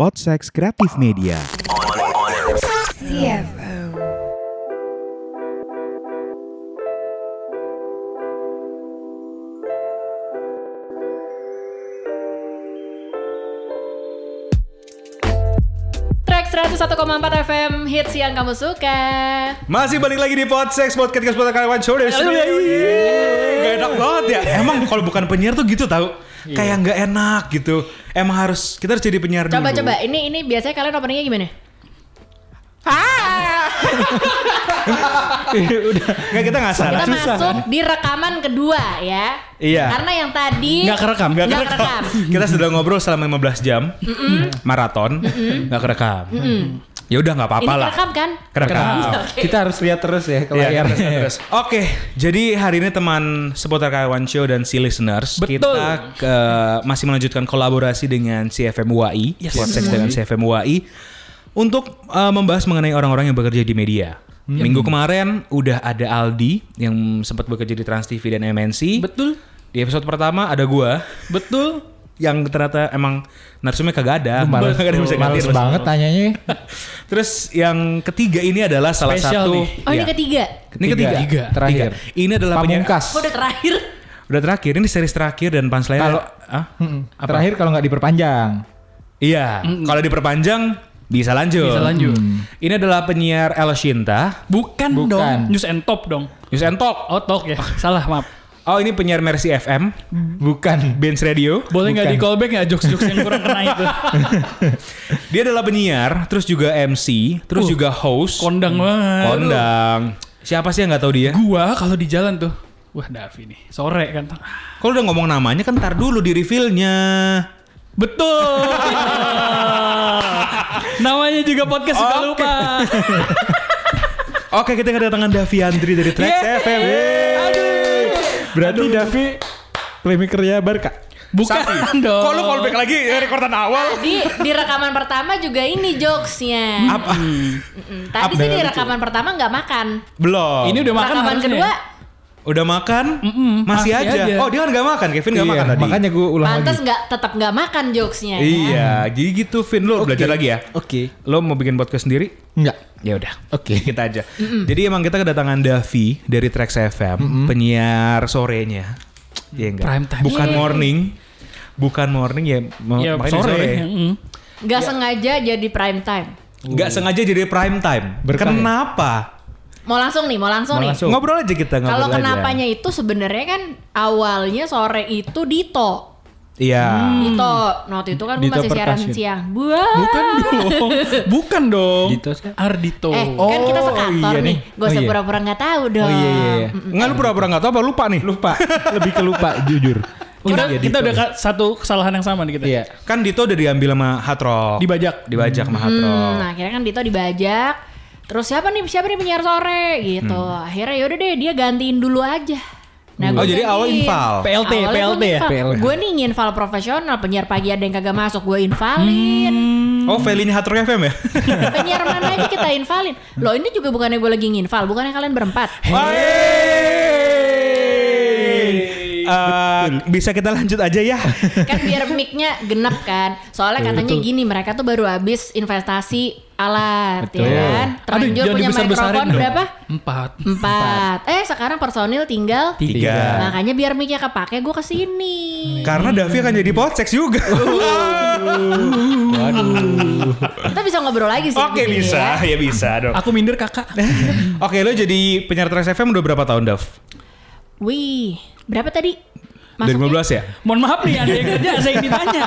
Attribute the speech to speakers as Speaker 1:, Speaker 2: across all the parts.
Speaker 1: Podseks Kreatif Media.
Speaker 2: Track 101,4 FM hits yang kamu suka.
Speaker 3: Masih balik lagi di Podsex Podcast Kesempatan Karyawan Show dari Gak enak banget ya Emang kalau bukan penyiar tuh gitu tau
Speaker 2: Iya.
Speaker 3: Kayak gak enak gitu Emang harus Kita harus jadi penyiar
Speaker 2: Coba
Speaker 3: dulu
Speaker 2: coba ini ini biasanya kalian openingnya gimana?
Speaker 3: Nggak, kita gak salah
Speaker 2: Kita masuk di rekaman kedua ya.
Speaker 3: Iya.
Speaker 2: Karena yang tadi
Speaker 4: Nggak kerekam.
Speaker 2: Nggak
Speaker 3: Nggak
Speaker 2: kerekam.
Speaker 3: Kita sudah ngobrol selama 15 jam Maraton Gak kerekam Ya udah gak
Speaker 2: Ini
Speaker 3: apa-apa lah
Speaker 2: kerekam kan?
Speaker 3: Kerekam
Speaker 2: Oke.
Speaker 4: Kita harus lihat terus ya ke
Speaker 3: Iya,
Speaker 4: layar.
Speaker 3: terus, terus. Oke, jadi hari ini teman seputar karyawan show dan si listeners
Speaker 4: Betul.
Speaker 3: kita ke- masih melanjutkan kolaborasi dengan CFM UI, yes. dengan CFM UI untuk eh, membahas mengenai orang-orang yang bekerja di media. Minggu kemarin udah ada Aldi yang sempat bekerja di Trans TV dan MNC.
Speaker 4: Betul,
Speaker 3: Di episode pertama ada gua
Speaker 4: betul.
Speaker 3: yang ternyata emang narsumnya kagak ada. Malah kagak ada yang bisa ganti.
Speaker 5: Males banget tanyanya.
Speaker 3: Terus yang ketiga ini adalah salah
Speaker 4: Spesial
Speaker 3: satu
Speaker 4: nih.
Speaker 2: Oh ini
Speaker 3: Iya.
Speaker 2: ketiga.
Speaker 3: Ini
Speaker 5: Tiga.
Speaker 3: ketiga.
Speaker 5: Tiga. Terakhir.
Speaker 3: Tiga. Ini adalah penyiar-
Speaker 5: Pamungkas.
Speaker 2: Oh, udah terakhir.
Speaker 3: Udah terakhir, ini series terakhir dan punchline
Speaker 5: Kalau-
Speaker 3: ah?
Speaker 5: Mm-mm. Terakhir kalau nggak diperpanjang.
Speaker 3: Iya, kalau diperpanjang bisa lanjut.
Speaker 4: Bisa lanjut.
Speaker 5: Hmm.
Speaker 3: Ini adalah penyiar El Shinta,
Speaker 4: Bukan,
Speaker 5: Bukan.
Speaker 4: dong. News and top dong.
Speaker 3: News and Talk.
Speaker 4: Oh talk ya. Salah maaf.
Speaker 3: Oh, ini penyiar Mercy FM,
Speaker 5: Bukan.
Speaker 3: Benz Radio.
Speaker 4: Boleh nggak di
Speaker 5: Bukan.
Speaker 4: callback nggak jokes-jokes yang kurang kena itu?
Speaker 3: Dia adalah penyiar, terus juga MC, terus
Speaker 4: Uh,
Speaker 3: juga host,
Speaker 4: Kondang banget.
Speaker 3: kondang. Siapa sih yang nggak tahu dia?
Speaker 4: Gua kalau di jalan tuh. Wah Davi nih. Sore kan.
Speaker 3: Kalau udah ngomong namanya kan ntar dulu di revealnya.
Speaker 4: Betul. Namanya juga podcast suka
Speaker 3: Oke.
Speaker 4: lupa.
Speaker 3: Oke, kita kedatangan Davi Andri dari Trax
Speaker 5: Iya.
Speaker 4: Yeay.
Speaker 3: FM.
Speaker 5: Berarti Davi playmakernya Barca.
Speaker 4: Bukan dong.
Speaker 3: Kok lu callback lagi Eh, rekordan awal?
Speaker 2: Di di rekaman pertama juga ini jokesnya.
Speaker 3: Apa?
Speaker 4: Hmm.
Speaker 2: Mm-mm. Tadi sih di rekaman pertama nggak makan.
Speaker 3: Belum.
Speaker 4: Ini udah Ya, makan
Speaker 2: rekaman
Speaker 4: harusnya.
Speaker 2: kedua
Speaker 3: Udah makan?
Speaker 4: Mm-mm,
Speaker 3: masih,
Speaker 4: masih
Speaker 3: aja.
Speaker 4: aja.
Speaker 3: Oh, dia kan gak makan. Kevin gak makan tadi.
Speaker 5: Iya, makanya gue ulang
Speaker 2: pantas
Speaker 5: lagi.
Speaker 2: nggak tetap nggak makan jokesnya. ya.
Speaker 3: Iya, jadi gitu Vin lo belajar lagi ya.
Speaker 5: Oke.
Speaker 3: Lo mau bikin podcast sendiri?
Speaker 5: Enggak.
Speaker 3: Ya udah.
Speaker 5: Oke.
Speaker 3: Kita aja. Jadi emang kita kedatangan Davi dari Trax FM, penyiar sorenya. Iya enggak?
Speaker 4: Prime time.
Speaker 3: Bukan
Speaker 2: Yeay.
Speaker 3: morning. Bukan morning ya, mo-
Speaker 4: Ya,
Speaker 3: makanya
Speaker 4: sore.
Speaker 3: sore.
Speaker 4: Mm.
Speaker 2: Nggak sengaja jadi prime time.
Speaker 3: Enggak sengaja jadi prime time.
Speaker 5: Berkah ya?
Speaker 3: Kenapa?
Speaker 2: Mau langsung nih, mau langsung nih.
Speaker 5: langsung.
Speaker 3: Ngobrol aja kita ngobrol
Speaker 2: Kalau
Speaker 3: aja.
Speaker 2: kenapanya itu sebenarnya kan awalnya sore itu Dito.
Speaker 3: Iya.
Speaker 2: Dito, waktu itu kan
Speaker 5: Hmm.
Speaker 2: gue
Speaker 5: Dito
Speaker 2: masih siaran
Speaker 5: Percussion.
Speaker 2: siang. Buah.
Speaker 4: Bukan dong. Bukan dong.
Speaker 5: Dito siapa?
Speaker 4: Ardito.
Speaker 2: Ah. Eh, kan kita sekantor
Speaker 5: iya
Speaker 2: nih.
Speaker 5: nih.
Speaker 2: Gue
Speaker 5: Oh, iya.
Speaker 2: sepura-pura nggak tahu dong.
Speaker 5: iya, iya, iya.
Speaker 2: Mm-mm.
Speaker 3: Enggak lu pura-pura enggak tahu apa lupa nih.
Speaker 5: Lupa. Lebih ke lupa jujur.
Speaker 4: kita,
Speaker 5: Iya, Dito.
Speaker 4: kita udah ka- satu kesalahan yang sama nih kita.
Speaker 5: Iya.
Speaker 3: Kan Dito udah diambil sama Hatro.
Speaker 4: Dibajak.
Speaker 3: Dibajak sama Hatro.
Speaker 2: Hmm, nah akhirnya kan Dito dibajak. Terus siapa nih siapa nih penyiar sore gitu.
Speaker 5: Hmm.
Speaker 2: Akhirnya yaudah deh dia gantiin dulu aja. Nah,
Speaker 3: Oh, jadi awal infal.
Speaker 4: PLT, PLT ya?
Speaker 5: PLT.
Speaker 2: Gue nih infal profesional, penyiar pagi ada yang kagak masuk, gue
Speaker 5: Hmm.
Speaker 2: infalin.
Speaker 3: Oh, Velinya Hatro FM ya?
Speaker 2: Penyiar mana aja kita infalin. Loh ini juga bukannya gue lagi nginfal, bukannya kalian berempat.
Speaker 3: Hey. Eh, bisa kita lanjut aja ya.
Speaker 2: kan biar mic-nya genep kan. Soalnya katanya gini, mereka tuh baru habis investasi alat
Speaker 5: Betul.
Speaker 2: ya kan. Terlanjur punya mikrofon
Speaker 4: dong.
Speaker 2: berapa?
Speaker 4: Empat.
Speaker 2: Empat. Eh sekarang personil tinggal
Speaker 3: Tiga.
Speaker 2: Makanya biar mic-nya kepake gue kesini.
Speaker 3: Karena Davi akan jadi potseks juga.
Speaker 4: Uh.
Speaker 2: Kita bisa ngobrol lagi sih.
Speaker 3: Oke
Speaker 2: di sini
Speaker 3: bisa,
Speaker 2: ya.
Speaker 3: ya bisa dong.
Speaker 4: Aku minder kakak.
Speaker 3: Oke lo jadi penyiar Trax FM udah berapa tahun Dav?
Speaker 2: Wih, berapa tadi?
Speaker 3: Dari
Speaker 2: Masuknya?
Speaker 3: 15 ya?
Speaker 4: Mohon maaf nih ada yang kerja, saya yang ditanya.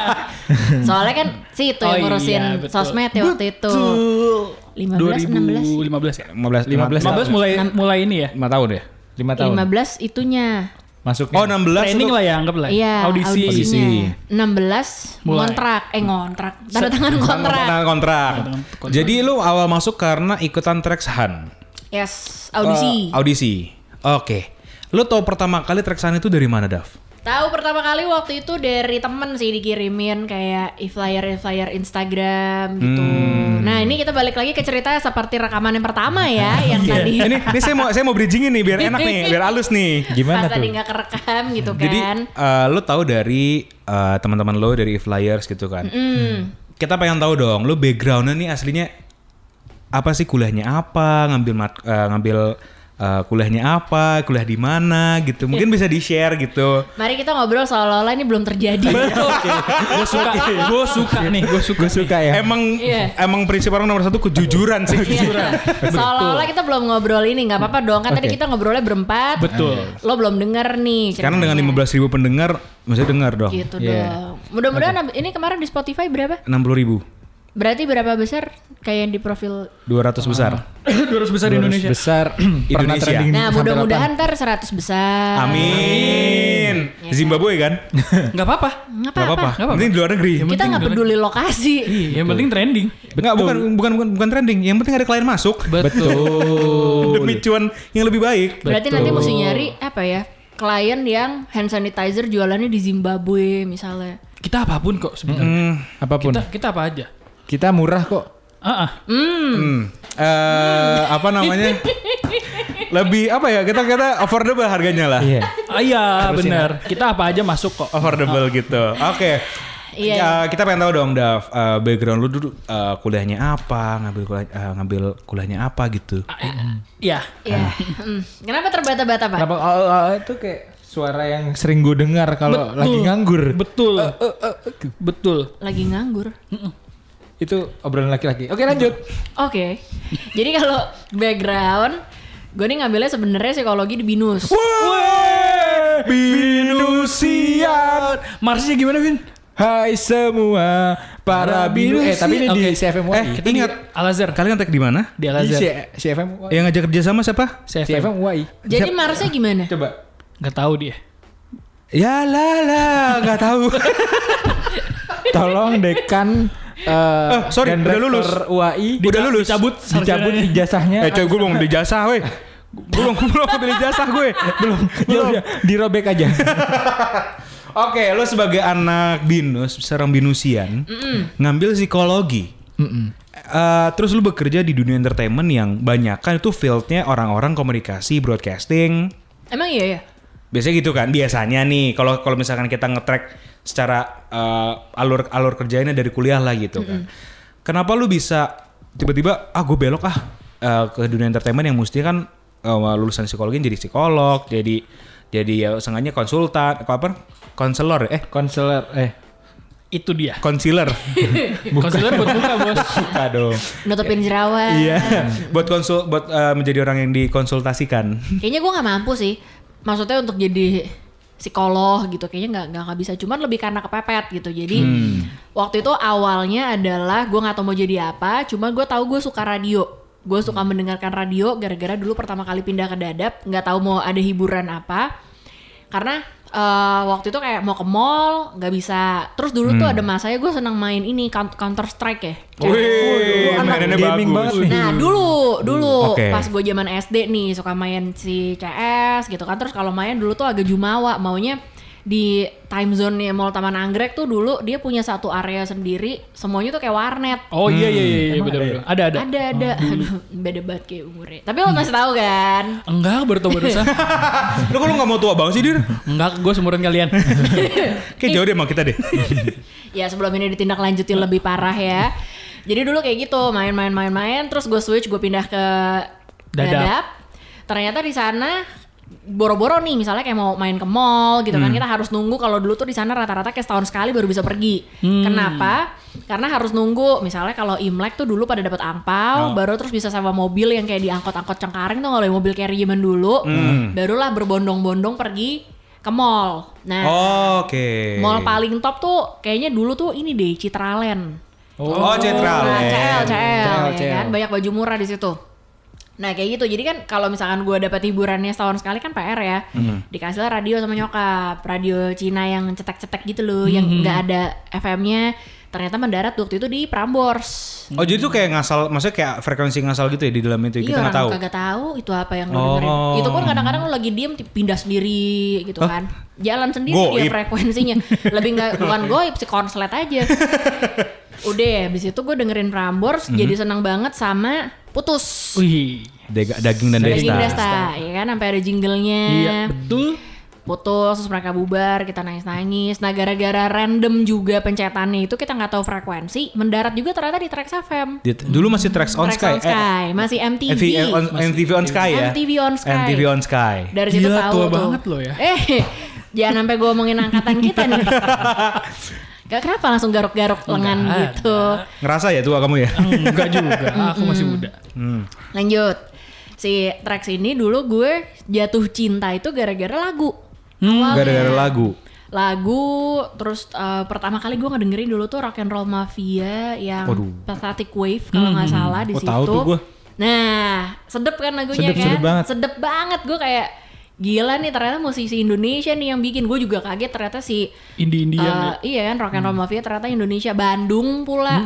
Speaker 2: Soalnya kan si itu
Speaker 4: Oh
Speaker 2: yang
Speaker 4: iya,
Speaker 2: ngurusin
Speaker 4: betul.
Speaker 2: sosmed ya waktu itu. Uh. 15, 16.
Speaker 4: 2015 ya?
Speaker 3: 15,
Speaker 5: 15
Speaker 4: 15 mulai mulai ini ya?
Speaker 3: 5 tahun ya?
Speaker 5: Lima tahun.
Speaker 2: 15 itunya.
Speaker 5: Masuknya.
Speaker 3: Oh 16
Speaker 4: Training
Speaker 3: lo-
Speaker 4: lah ya, anggap lah.
Speaker 2: Iya,
Speaker 4: Audisi.
Speaker 2: audisinya.
Speaker 5: Audisi.
Speaker 2: 16
Speaker 4: Mulai.
Speaker 2: ngontrak, eh ngontrak. Tanda tangan kontrak.
Speaker 3: Tanda kontrak. Jadi lu awal masuk karena ikutan Trax Han.
Speaker 2: Yes, audisi.
Speaker 3: Eh, audisi. Oke. Lu tau pertama kali Trax Han itu dari mana Dav?
Speaker 2: Tahu pertama kali waktu itu dari temen sih dikirimin kayak flyer flyer Instagram gitu. Nah, ini kita balik lagi ke cerita seperti rekaman yang pertama ya yang tadi.
Speaker 3: ini ini saya mau saya mau bridgingin nih biar enak nih, biar halus nih.
Speaker 5: Gimana
Speaker 2: Pas tadi
Speaker 5: tuh?
Speaker 2: nggak kerekam gitu
Speaker 3: Jadi
Speaker 2: kan. Hmm.
Speaker 3: eh, lo tahu dari eh, teman-teman lo dari flyers gitu kan. kita pengen tahu dong, lu backgroundnya nih aslinya apa sih kuliahnya apa, ngambil mat- eh, ngambil eh, kuliahnya apa, kuliah di mana gitu.
Speaker 2: Iya.
Speaker 3: Mungkin bisa di share gitu.
Speaker 2: Mari kita ngobrol seolah-olah ini belum terjadi.
Speaker 4: gue suka, gue suka nih, gue suka.
Speaker 5: Gue suka ya.
Speaker 3: Emang
Speaker 2: Iya.
Speaker 3: emang prinsip orang nomor satu kejujuran sih. Kejujuran.
Speaker 2: seolah-olah kita belum ngobrol ini, nggak apa-apa dong. Kan tadi
Speaker 5: Oke.
Speaker 2: kita ngobrolnya berempat.
Speaker 4: Betul.
Speaker 2: Lo belum denger nih.
Speaker 3: Sekarang dengan
Speaker 2: ceritanya.
Speaker 3: 15.000 pendengar, mesti dengar dong.
Speaker 2: Gitu
Speaker 5: Iya.
Speaker 2: dong. Mudah-mudahan ab- ini kemarin di Spotify berapa?
Speaker 3: 60.000.
Speaker 2: Berarti berapa besar kayak yang di profil?
Speaker 3: 200 besar.
Speaker 4: 200 besar di
Speaker 5: 200
Speaker 4: Indonesia.
Speaker 5: besar pernah
Speaker 3: Indonesia.
Speaker 5: trending
Speaker 2: Nah,
Speaker 5: sampai
Speaker 2: mudah-mudahan ntar 100 besar.
Speaker 3: Amin.
Speaker 2: Amin.
Speaker 3: Zimbabwe kan?
Speaker 4: Gak apa-apa.
Speaker 2: Nggak
Speaker 3: Gak apa-apa.
Speaker 2: apa-apa.
Speaker 4: Nggak apa-apa.
Speaker 3: Penting di luar negeri.
Speaker 4: Yang
Speaker 2: Kita
Speaker 4: penting
Speaker 2: nggak
Speaker 4: beneran.
Speaker 2: peduli lokasi.
Speaker 4: Iya, yang penting trending.
Speaker 3: Enggak, bukan, bukan bukan bukan trending. Yang penting ada klien masuk.
Speaker 5: Betul.
Speaker 3: Demi cuan yang lebih baik.
Speaker 2: Berarti
Speaker 5: Betul.
Speaker 2: nanti mesti nyari apa ya? Klien yang hand sanitizer jualannya di Zimbabwe misalnya.
Speaker 4: Kita apapun kok sebenarnya.
Speaker 3: Hmm.
Speaker 5: apapun.
Speaker 4: Kita
Speaker 5: Kita,
Speaker 4: kita apa aja.
Speaker 5: murah kok.
Speaker 4: Ah, ah.
Speaker 3: Hmm. Eh, apa namanya? lebih apa ya? Kita kata affordable harganya lah.
Speaker 5: Iya.
Speaker 4: Ah, iya benar. Kita apa aja masuk kok.
Speaker 3: Affordable gitu. Oke.
Speaker 2: Iya.
Speaker 3: Ya, kita pengen tahu dong, Dav, eh, background lu dulu eh, kuliahnya apa, ngambil kuliah- eh, ngambil kuliahnya apa gitu.
Speaker 4: Iya.
Speaker 2: Ya. mm. Kenapa terbata-bata, Pak?
Speaker 5: Kenapa oh, oh, oh, itu kayak suara yang sering gue dengar kalau
Speaker 4: Betul.
Speaker 5: lagi nganggur.
Speaker 4: Betul.
Speaker 3: Eh,
Speaker 4: Betul.
Speaker 2: Lagi nganggur.
Speaker 5: Itu obrolan laki-laki. Oke, lanjut.
Speaker 2: Oke. Jadi kalau background, gue nih ngambilnya sebenarnya psikologi di Binus.
Speaker 5: Binusian.
Speaker 4: Marsnya gimana, Vin?
Speaker 5: Hai semua para binu. Eh, tapi ini di
Speaker 4: Oke.
Speaker 5: CFMUI.
Speaker 3: Eh,
Speaker 4: Kita
Speaker 3: ingat
Speaker 4: di Al-Azhar.
Speaker 3: kalian tag di mana?
Speaker 5: di
Speaker 4: Di Al-Azhar.
Speaker 5: C- CFMUI.
Speaker 3: Yang ngajak kerja sama siapa?
Speaker 4: CFM.
Speaker 5: CFMUI.
Speaker 2: Jadi Marsnya gimana?
Speaker 5: Coba.
Speaker 4: Gak tahu dia.
Speaker 3: Ya lah lah, nggak tahu.
Speaker 5: Tolong dekan eh,
Speaker 3: Eh, sorry,
Speaker 5: dan
Speaker 3: udah
Speaker 5: rektor
Speaker 3: lulus.
Speaker 5: UI
Speaker 3: Udah lulus.
Speaker 4: Dicabut
Speaker 5: dicabut
Speaker 4: sarjananya.
Speaker 5: ijazahnya.
Speaker 3: eh, coy, gue belum beli jasa, weh. Gue belum belum beli jasa gue. Belum.
Speaker 5: Ya udah, dirobek aja.
Speaker 3: Oke, lo sebagai anak binus, seorang binusian, ngambil psikologi. Eh, terus lu bekerja di dunia entertainment yang banyak kan itu fieldnya orang-orang komunikasi, broadcasting.
Speaker 2: Emang iya ya?
Speaker 3: Biasanya gitu kan, biasanya nih. Kalau kalau misalkan kita ngetrack secara eh, alur alur kerjanya dari kuliah lah gitu kan. Kenapa lu bisa tiba-tiba ah gue belok ah eh, ke dunia entertainment yang mestinya kan eh, lulusan psikologi jadi psikolog, jadi jadi ya sengaja konsultan, apa apa? Konselor ya? eh
Speaker 5: Konselor eh
Speaker 4: Itu dia.
Speaker 3: Concealer.
Speaker 4: Konselor buat buka, Bos.
Speaker 5: buka dong.
Speaker 2: Nutupin jerawat.
Speaker 3: Iya. buat konsul buat eh, menjadi orang yang dikonsultasikan.
Speaker 2: Kayaknya gue nggak mampu sih. Maksudnya untuk jadi psikolog gitu kayaknya nggak nggak nggak bisa cuman lebih karena kepepet gitu jadi waktu itu awalnya adalah gue nggak tahu mau jadi apa cuma gue tahu gue suka radio gue suka mendengarkan radio gara-gara dulu pertama kali pindah ke dadap nggak tahu mau ada hiburan apa karena eh, waktu itu kayak mau ke mall nggak bisa terus dulu tuh ada masanya gue senang main ini Count- counter strike ya
Speaker 3: Oh, Wih,
Speaker 5: anak gaming banget nih.
Speaker 2: Nah dulu, dulu
Speaker 3: Oke.
Speaker 2: pas gue zaman SD nih suka main si CS gitu kan. Terus kalau main dulu tuh agak jumawa, maunya di time zone-nya Mall Taman Anggrek tuh dulu dia punya satu area sendiri, semuanya tuh kayak warnet.
Speaker 4: Oh iya iya iya,
Speaker 3: Hmm.
Speaker 4: iya benar benar. Ada ada.
Speaker 2: Ada ada, aduh beda banget kayak umurnya. Tapi lo masih tahu kan?
Speaker 4: Enggak, baru tau barusan.
Speaker 3: Lu kok lu gak mau tua banget sih, Dir?
Speaker 4: Enggak, gue seumuran kalian.
Speaker 3: Kayak jauh deh sama kita deh.
Speaker 2: Ya sebelum ini ditindaklanjuti lebih parah ya. Jadi dulu kayak gitu main-main-main-main, terus gue switch gue pindah ke
Speaker 4: Dadap.
Speaker 2: Dadap. Ternyata di sana boro-boro nih misalnya kayak mau main ke mall gitu kan kita harus nunggu kalau dulu tuh di sana rata-rata kayak setahun sekali baru bisa pergi. Kenapa? Karena harus nunggu misalnya kalau Imlek tuh dulu pada dapat angpau baru terus bisa sama mobil yang kayak diangkot-angkot cengkareng tuh kalau mobil carry zaman dulu barulah berbondong-bondong pergi ke mall. Nah,
Speaker 3: Oh, Oke.
Speaker 2: Mall paling top tuh kayaknya dulu tuh ini deh Citraland.
Speaker 3: Oh,
Speaker 2: Nah,
Speaker 3: Cetralen.
Speaker 2: CL, CL,
Speaker 5: CL,
Speaker 2: ya
Speaker 5: CL.
Speaker 2: kan? Banyak baju murah di situ. Nah kayak gitu, jadi kan kalau misalkan gue dapat hiburannya setahun sekali kan PR ya Dikasih lah radio sama nyokap, radio Cina yang cetek-cetek gitu loh Yang
Speaker 3: Mm-hmm.
Speaker 2: nggak ada FM-nya Ternyata mendarat waktu itu di Prambors
Speaker 3: Oh, jadi tuh kayak ngasal, maksudnya kayak frekuensi ngasal gitu ya di dalam itu.
Speaker 2: Iya
Speaker 3: Kita
Speaker 2: orang
Speaker 3: nggak tahu.
Speaker 2: kagak tahu itu apa yang lo
Speaker 3: Oh.
Speaker 2: dengerin Itu pun kadang-kadang lo lagi diem pindah sendiri gitu
Speaker 3: Hah?
Speaker 2: kan Jalan sendiri
Speaker 3: Goib.
Speaker 2: dia frekuensinya Lebih nggak bukan goib sih konslet aja Udah habis itu gue dengerin Prambors
Speaker 3: Mhm.
Speaker 2: jadi senang banget sama Putus iya
Speaker 3: Oh
Speaker 4: Wih.
Speaker 3: iya, Dega- daging dan
Speaker 2: Daging
Speaker 3: desta.
Speaker 2: Desta ya kan sampai ada jinglenya
Speaker 4: Iya, betul.
Speaker 2: putus terus mereka bubar kita nangis nangis nah gara-gara random juga pencetannya itu kita nggak tahu frekuensi mendarat juga ternyata di Trax FM
Speaker 3: Dia- Dulu masih Tracks on
Speaker 2: Trax
Speaker 3: Sky.
Speaker 2: on Sky masih
Speaker 3: Eh, MTV on, MTV on Sky ya.
Speaker 2: MTV on Sky.
Speaker 3: MTV on Sky.
Speaker 2: dari situ
Speaker 4: Gila,
Speaker 2: tahu
Speaker 4: tua
Speaker 2: tuh.
Speaker 4: banget lo ya.
Speaker 2: Eh, jangan sampai gue omongin angkatan kita nih. Gak kenapa langsung garuk-garuk lengan
Speaker 4: Enggak,
Speaker 2: gitu.
Speaker 3: Ngerasa ya tua kamu ya?
Speaker 4: Enggak juga, aku masih muda.
Speaker 3: Hmm.
Speaker 2: Lanjut. Si Trax ini dulu gue jatuh cinta itu gara-gara lagu.
Speaker 4: Hmm,
Speaker 2: Awalnya.
Speaker 3: Gara-gara lagu.
Speaker 2: Lagu, terus eh, pertama kali gue ngedengerin dulu tuh Rock and Roll Mafia yang
Speaker 3: Waduh.
Speaker 2: Pathetic Wave kalau nggak salah
Speaker 3: Oh,
Speaker 2: di situ.
Speaker 3: tahu tuh gue.
Speaker 2: Nah, sedep kan lagunya
Speaker 5: Sedep,
Speaker 2: kan?
Speaker 5: sedep banget.
Speaker 2: Sedep banget gue kayak gila nih ternyata musisi Indonesia nih yang bikin. Gue juga kaget ternyata si eh,
Speaker 4: Indie-indian ya.
Speaker 2: iya kan Rock and Roll Mafia ternyata Indonesia Bandung pula.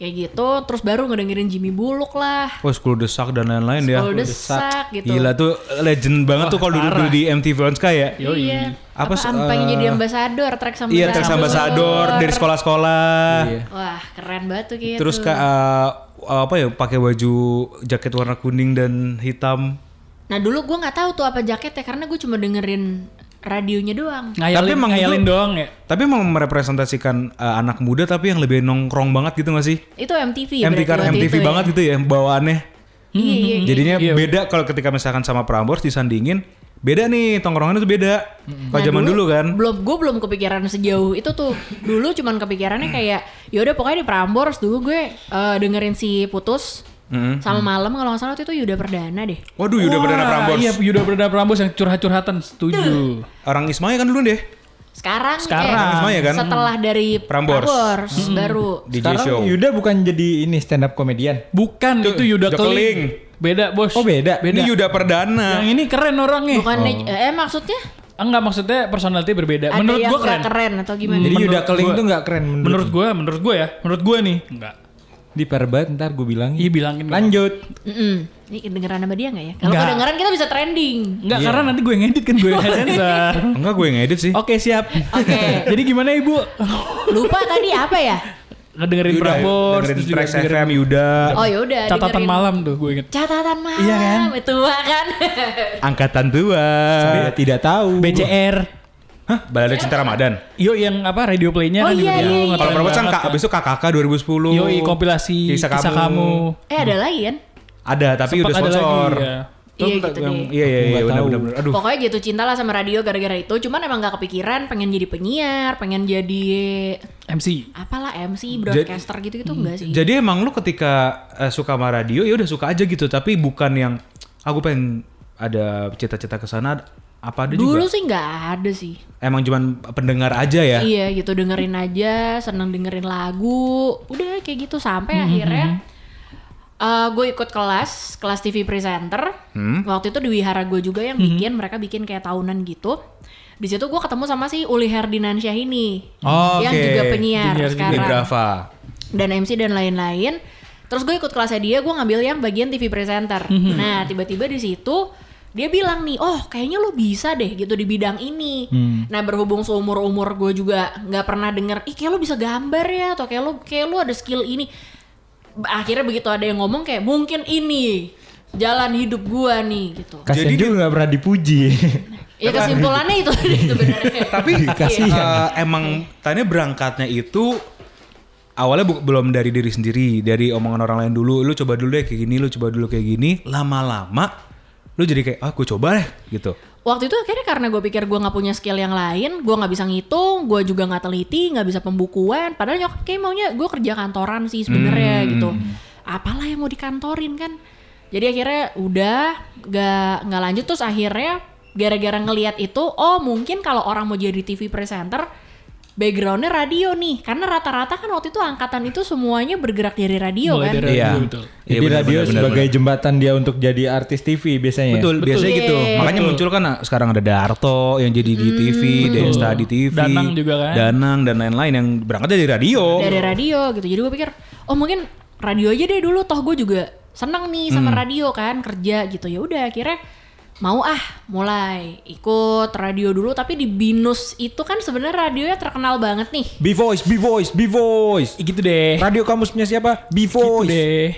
Speaker 2: Kayak gitu, terus baru ngedengerin Jimmy Buluk lah.
Speaker 3: Oh, School Desak dan lain-lain ya.
Speaker 2: School Desak, gitu.
Speaker 3: Gila tuh legend banget tuh kalau dulu, dulu di MTV on Sky ya.
Speaker 4: Yoi.
Speaker 2: Iya.
Speaker 3: Apa
Speaker 2: Apa,
Speaker 3: s-
Speaker 2: Am pengen
Speaker 3: eh,
Speaker 2: jadi ambasador, track sama
Speaker 3: Iya, Trax Ambassador dari sekolah-sekolah.
Speaker 2: Wah, keren banget tuh gitu.
Speaker 3: Terus kayak eh, apa ya pakai baju jaket warna kuning dan hitam.
Speaker 2: Nah, dulu gua nggak tahu tuh apa jaketnya karena gue cuma dengerin radionya doang.
Speaker 4: Ngayalin,
Speaker 3: Tapi emang
Speaker 4: ngayalin
Speaker 3: itu-
Speaker 4: doang ya.
Speaker 3: Tapi emang merepresentasikan eh, anak muda tapi yang lebih nongkrong banget gitu gak sih?
Speaker 2: Itu
Speaker 3: MTV,
Speaker 2: MTV berarti waktu
Speaker 3: MTV
Speaker 2: itu ya.
Speaker 3: banget gitu ya bawaannya.
Speaker 2: Iya, iya, iya.
Speaker 3: Jadinya
Speaker 4: Iya,
Speaker 3: beda kalau ketika misalkan sama Prambors disandingin, beda nih tongkrongannya tuh beda. Kalau
Speaker 2: Nah,
Speaker 3: zaman dulu, kan.
Speaker 2: belum gue belum kepikiran sejauh itu tuh dulu cuman kepikirannya kayak yaudah pokoknya di Prambors dulu gue eh, dengerin si putus
Speaker 3: Mm-mm.
Speaker 2: sama malam kalau nggak salah waktu itu Yuda Perdana deh
Speaker 3: Waduh, Yuda
Speaker 4: Wah,
Speaker 3: Perdana Prambors.
Speaker 4: Iya, Yuda Perdana Prambors yang curhat-curhatan, setuju.
Speaker 3: Orang Ismaya kan dulu deh.
Speaker 2: sekarang
Speaker 4: Sekarang.
Speaker 3: Sama ya kan?
Speaker 2: setelah dari
Speaker 3: Prambors. Mm-hmm.
Speaker 2: Prambors, baru
Speaker 3: DJ
Speaker 5: Sekarang
Speaker 3: show.
Speaker 5: Yuda bukan jadi ini stand up komedian.
Speaker 4: Bukan,
Speaker 3: Itu
Speaker 4: itu Yuda
Speaker 3: Jokeling.
Speaker 4: Keling. Beda, Bos.
Speaker 5: Oh, beda.
Speaker 4: Beda.
Speaker 3: Ini Yuda Perdana.
Speaker 4: Yang ini keren orangnya.
Speaker 3: Oh.
Speaker 2: bukannya eh eh, maksudnya
Speaker 4: Enggak, maksudnya personality
Speaker 3: Ya,
Speaker 4: berbeda.
Speaker 2: ada
Speaker 4: Menurut
Speaker 2: yang
Speaker 4: gua
Speaker 2: nggak
Speaker 4: keren.
Speaker 2: keren atau gimana
Speaker 5: Jadi
Speaker 4: Menurut
Speaker 5: Yuda Keling
Speaker 4: gua-
Speaker 5: tuh nggak keren menurut,
Speaker 4: Menurut gua, menurut gua ya. Menurut gua nih. Enggak.
Speaker 5: di perbat ntar gue bilangin.
Speaker 4: Iya, bilangin.
Speaker 5: Lanjut.
Speaker 2: Mm-mm. ini kedengeran sama dia nggak ya kalau
Speaker 4: Nggak.
Speaker 2: kedengeran kita bisa trending
Speaker 4: Enggak,
Speaker 3: Iya.
Speaker 4: karena nanti gue yang ngedit kan gue yang sensor.
Speaker 3: Enggak gue yang edit sih.
Speaker 4: Oke, siap.
Speaker 2: Oke.
Speaker 4: Jadi gimana Ibu?
Speaker 2: lupa tadi apa ya
Speaker 4: Ngedengerin
Speaker 3: Yuda,
Speaker 4: Prambors,
Speaker 3: dengerin
Speaker 4: terus juga
Speaker 3: Trax
Speaker 4: dengerin
Speaker 3: FM Yuda.
Speaker 2: oh yaudah
Speaker 4: catatan
Speaker 2: dengerin.
Speaker 4: malam tuh gue inget.
Speaker 2: catatan malam
Speaker 4: Iya kan?
Speaker 2: itu kan
Speaker 3: Angkatan tua.
Speaker 4: Iya,
Speaker 5: Saya tidak
Speaker 3: Uh.
Speaker 5: tahu.
Speaker 4: BCR.
Speaker 3: Balada Cinta
Speaker 4: Iya.
Speaker 3: Ramadan.
Speaker 4: Yo yang apa radio playnya
Speaker 2: Oh,
Speaker 4: kan
Speaker 2: iya, iya, iya.
Speaker 3: Kalau Prambors kan
Speaker 4: banget
Speaker 3: Kak, abis itu KKK 2010.
Speaker 4: Yo kompilasi kisah, kamu.
Speaker 2: eh ada lagi kan
Speaker 3: Ada tapi
Speaker 4: Sempat
Speaker 3: udah
Speaker 4: ada lagi,
Speaker 3: sponsor.
Speaker 4: iya.
Speaker 3: Hmm. Tuh,
Speaker 2: Iya,
Speaker 3: tak-
Speaker 2: gitu
Speaker 3: yang-
Speaker 2: deh.
Speaker 3: Iya iya iya
Speaker 5: Nggak
Speaker 3: benar
Speaker 5: tahu.
Speaker 3: benar. benar. Aduh.
Speaker 2: Pokoknya jatuh cinta lah sama radio gara-gara itu. Cuman emang gak kepikiran pengen jadi penyiar, pengen jadi
Speaker 4: MC.
Speaker 2: apalah MC, broadcaster gitu-gitu
Speaker 3: Hmm.
Speaker 2: enggak sih.
Speaker 3: Jadi emang lu ketika eh, suka sama radio ya udah suka aja gitu tapi bukan yang aku pengen ada cita-cita ke sana apa ada juga.
Speaker 2: Dulu sih nggak ada sih.
Speaker 3: Emang cuman pendengar aja ya.
Speaker 2: Iya gitu dengerin aja, seneng dengerin lagu. Udah kayak gitu sampai
Speaker 3: Hmm,
Speaker 2: akhirnya eh, gue ikut kelas, kelas TV presenter.
Speaker 3: Hmm?
Speaker 2: Waktu itu di wihara gue juga yang bikin, mereka bikin kayak tahunan gitu. Di situ gue ketemu sama si Uli Herdinansyah ini.
Speaker 3: Oh,
Speaker 2: yang
Speaker 3: oke.
Speaker 2: juga penyiar
Speaker 4: Penyiar juga.
Speaker 3: Di
Speaker 2: sekarang.
Speaker 3: Brava.
Speaker 2: dan MC dan lain-lain. Terus gue ikut kelasnya dia, gue ngambil yang bagian TV presenter. Nah, tiba-tiba di situ dia bilang nih, oh kayaknya lo bisa deh gitu di bidang ini. Nah berhubung seumur umur gue juga nggak pernah denger, ih kayak lo bisa gambar ya, atau kayak lo kayak lo ada skill ini. Akhirnya begitu ada yang ngomong kayak mungkin ini jalan hidup gue nih gitu.
Speaker 5: Kasian
Speaker 3: Jadi-
Speaker 5: juga nggak pernah dipuji.
Speaker 2: Ya kesimpulannya itu sebenarnya.
Speaker 3: Tapi
Speaker 2: Iya.
Speaker 5: Kasihan.
Speaker 3: eh, emang tanya berangkatnya itu awalnya bu- belum dari diri sendiri, dari omongan orang lain dulu. Lu coba dulu deh kayak gini, lu coba dulu kayak gini. Lama-lama lu jadi kayak ah gue coba deh gitu.
Speaker 2: Waktu itu akhirnya karena gue pikir gue nggak punya skill yang lain, gue nggak bisa ngitung, gue juga nggak teliti, nggak bisa pembukuan. Padahal nyokap kayak maunya gue kerja kantoran sih sebenarnya
Speaker 4: Hmm.
Speaker 2: gitu. Apalah yang mau dikantorin kan? Jadi akhirnya udah nggak nggak lanjut terus akhirnya gara-gara ngelihat itu, oh mungkin kalau orang mau jadi TV presenter backgroundnya radio nih, karena rata-rata kan waktu itu angkatan itu semuanya bergerak dari radio
Speaker 4: Mulai
Speaker 2: kan.
Speaker 4: dari radio Iya. betul.
Speaker 5: Jadi
Speaker 3: Iya. benar,
Speaker 5: radio
Speaker 3: benar, benar,
Speaker 5: sebagai jembatan dia untuk jadi artis TV biasanya.
Speaker 3: Betul, biasanya gitu.
Speaker 2: Iya. Hmm,
Speaker 3: Makanya muncul kan ah, sekarang ada Darto yang jadi di TV, Desta di TV,
Speaker 4: Danang juga kan.
Speaker 3: Danang dan lain-lain yang berangkat dari radio.
Speaker 2: dari radio gitu jadi gue pikir oh mungkin radio aja deh dulu toh gue juga seneng nih sama radio kan kerja gitu ya udah akhirnya mau ah mulai ikut radio dulu tapi di binus itu kan sebenarnya radionya terkenal banget nih
Speaker 5: B voice, B voice, B voice. Eh,
Speaker 4: Ih, Gitu deh.
Speaker 5: Radio kamusnya siapa? B
Speaker 4: Gitu
Speaker 5: voice.
Speaker 4: deh.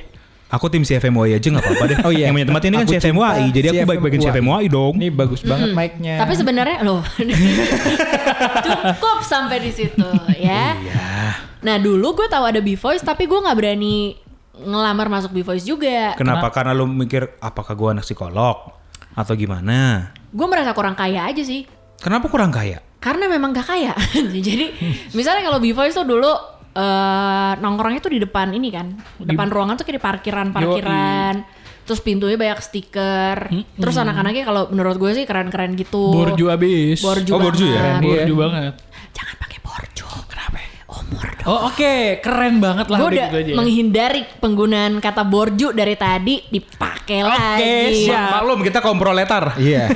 Speaker 3: Aku tim CFMUI aja nggak apa-apa deh.
Speaker 5: Oh, iya.
Speaker 3: Yang punya tempat ini kan
Speaker 5: Aku cinta
Speaker 3: CFMUI, jadi aku
Speaker 5: CFMUI.
Speaker 3: baik-baikin CFMUI dong.
Speaker 5: Ini bagus banget mic-nya.
Speaker 2: Hmm. Tapi sebenarnya loh cukup sampai di situ ya.
Speaker 3: Ah.
Speaker 2: Nah dulu gue tahu ada B Voice tapi gue nggak berani ngelamar masuk B Voice juga.
Speaker 3: Kenapa? Karena lu mikir apakah gua anak psikolog atau gimana?
Speaker 2: Gue merasa kurang kaya aja sih.
Speaker 3: Kenapa kurang kaya?
Speaker 2: Karena memang gak kaya. Jadi misalnya kalau B Voice tuh dulu eh nongkrongnya tuh di depan ini kan, depan ruangan tuh kayak di parkiran-parkiran. Terus pintunya banyak stiker. Terus anak-anaknya kalau menurut gue sih keren-keren gitu.
Speaker 4: Borju abis.
Speaker 2: Borju
Speaker 3: Oh, borju ya?
Speaker 2: banget. Iya.
Speaker 4: Borju banget.
Speaker 2: Jangan pakai borju. Kenapa? Umur dong.
Speaker 4: Oh oke, keren banget lah
Speaker 2: Gue
Speaker 4: udah
Speaker 2: udah
Speaker 4: gitu aja.
Speaker 2: menghindari penggunaan kata borju dari tadi dipakai lagi.
Speaker 3: Maklum kita komproletar.
Speaker 5: Iya.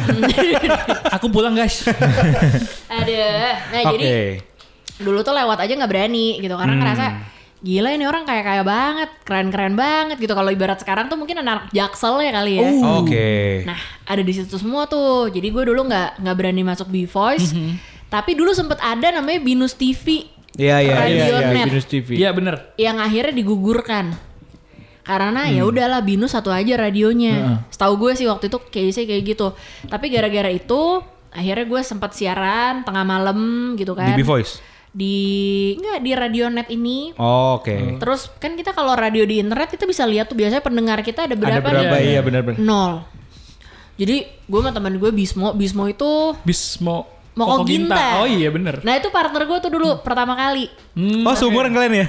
Speaker 4: Aku pulang guys.
Speaker 2: Ada. Nah jadi dulu tuh lewat aja nggak berani gitu karena ngerasa gila ini orang kaya kaya banget, keren keren banget gitu. Kalau ibarat sekarang tuh mungkin anak jaksel ya kali ya.
Speaker 3: Oke.
Speaker 2: Nah ada di situ semua tuh. Jadi gue dulu nggak nggak berani masuk B Voice. Tapi dulu sempet ada namanya Binus TV
Speaker 3: Iya iya
Speaker 2: Radio
Speaker 3: iya.
Speaker 5: Iya,
Speaker 2: Net.
Speaker 5: Binus TV.
Speaker 4: Iya bener.
Speaker 2: yang akhirnya digugurkan karena ya udahlah Binus satu aja radionya. Setahu gue sih waktu itu kayaknya kayak gitu. Tapi gara-gara itu akhirnya gue sempat siaran tengah malam gitu
Speaker 3: Di
Speaker 2: kan.
Speaker 3: B Voice.
Speaker 2: Di enggak di Radio Net ini.
Speaker 3: Oh, Oke.
Speaker 2: Terus kan kita kalau radio di internet kita bisa lihat tuh biasanya pendengar kita ada berapa, ya?
Speaker 5: Ada berapa?
Speaker 2: nih?
Speaker 5: Iya benar-benar.
Speaker 2: Nol. Jadi gue sama teman gue Bismo, Bismo itu
Speaker 4: Bismo.
Speaker 2: Moko
Speaker 4: Ginta.
Speaker 2: Ginta.
Speaker 4: Oh iya bener. Hmm.
Speaker 2: Nah itu partner gue tuh dulu pertama kali.
Speaker 3: Oh, seumuran kalian ya?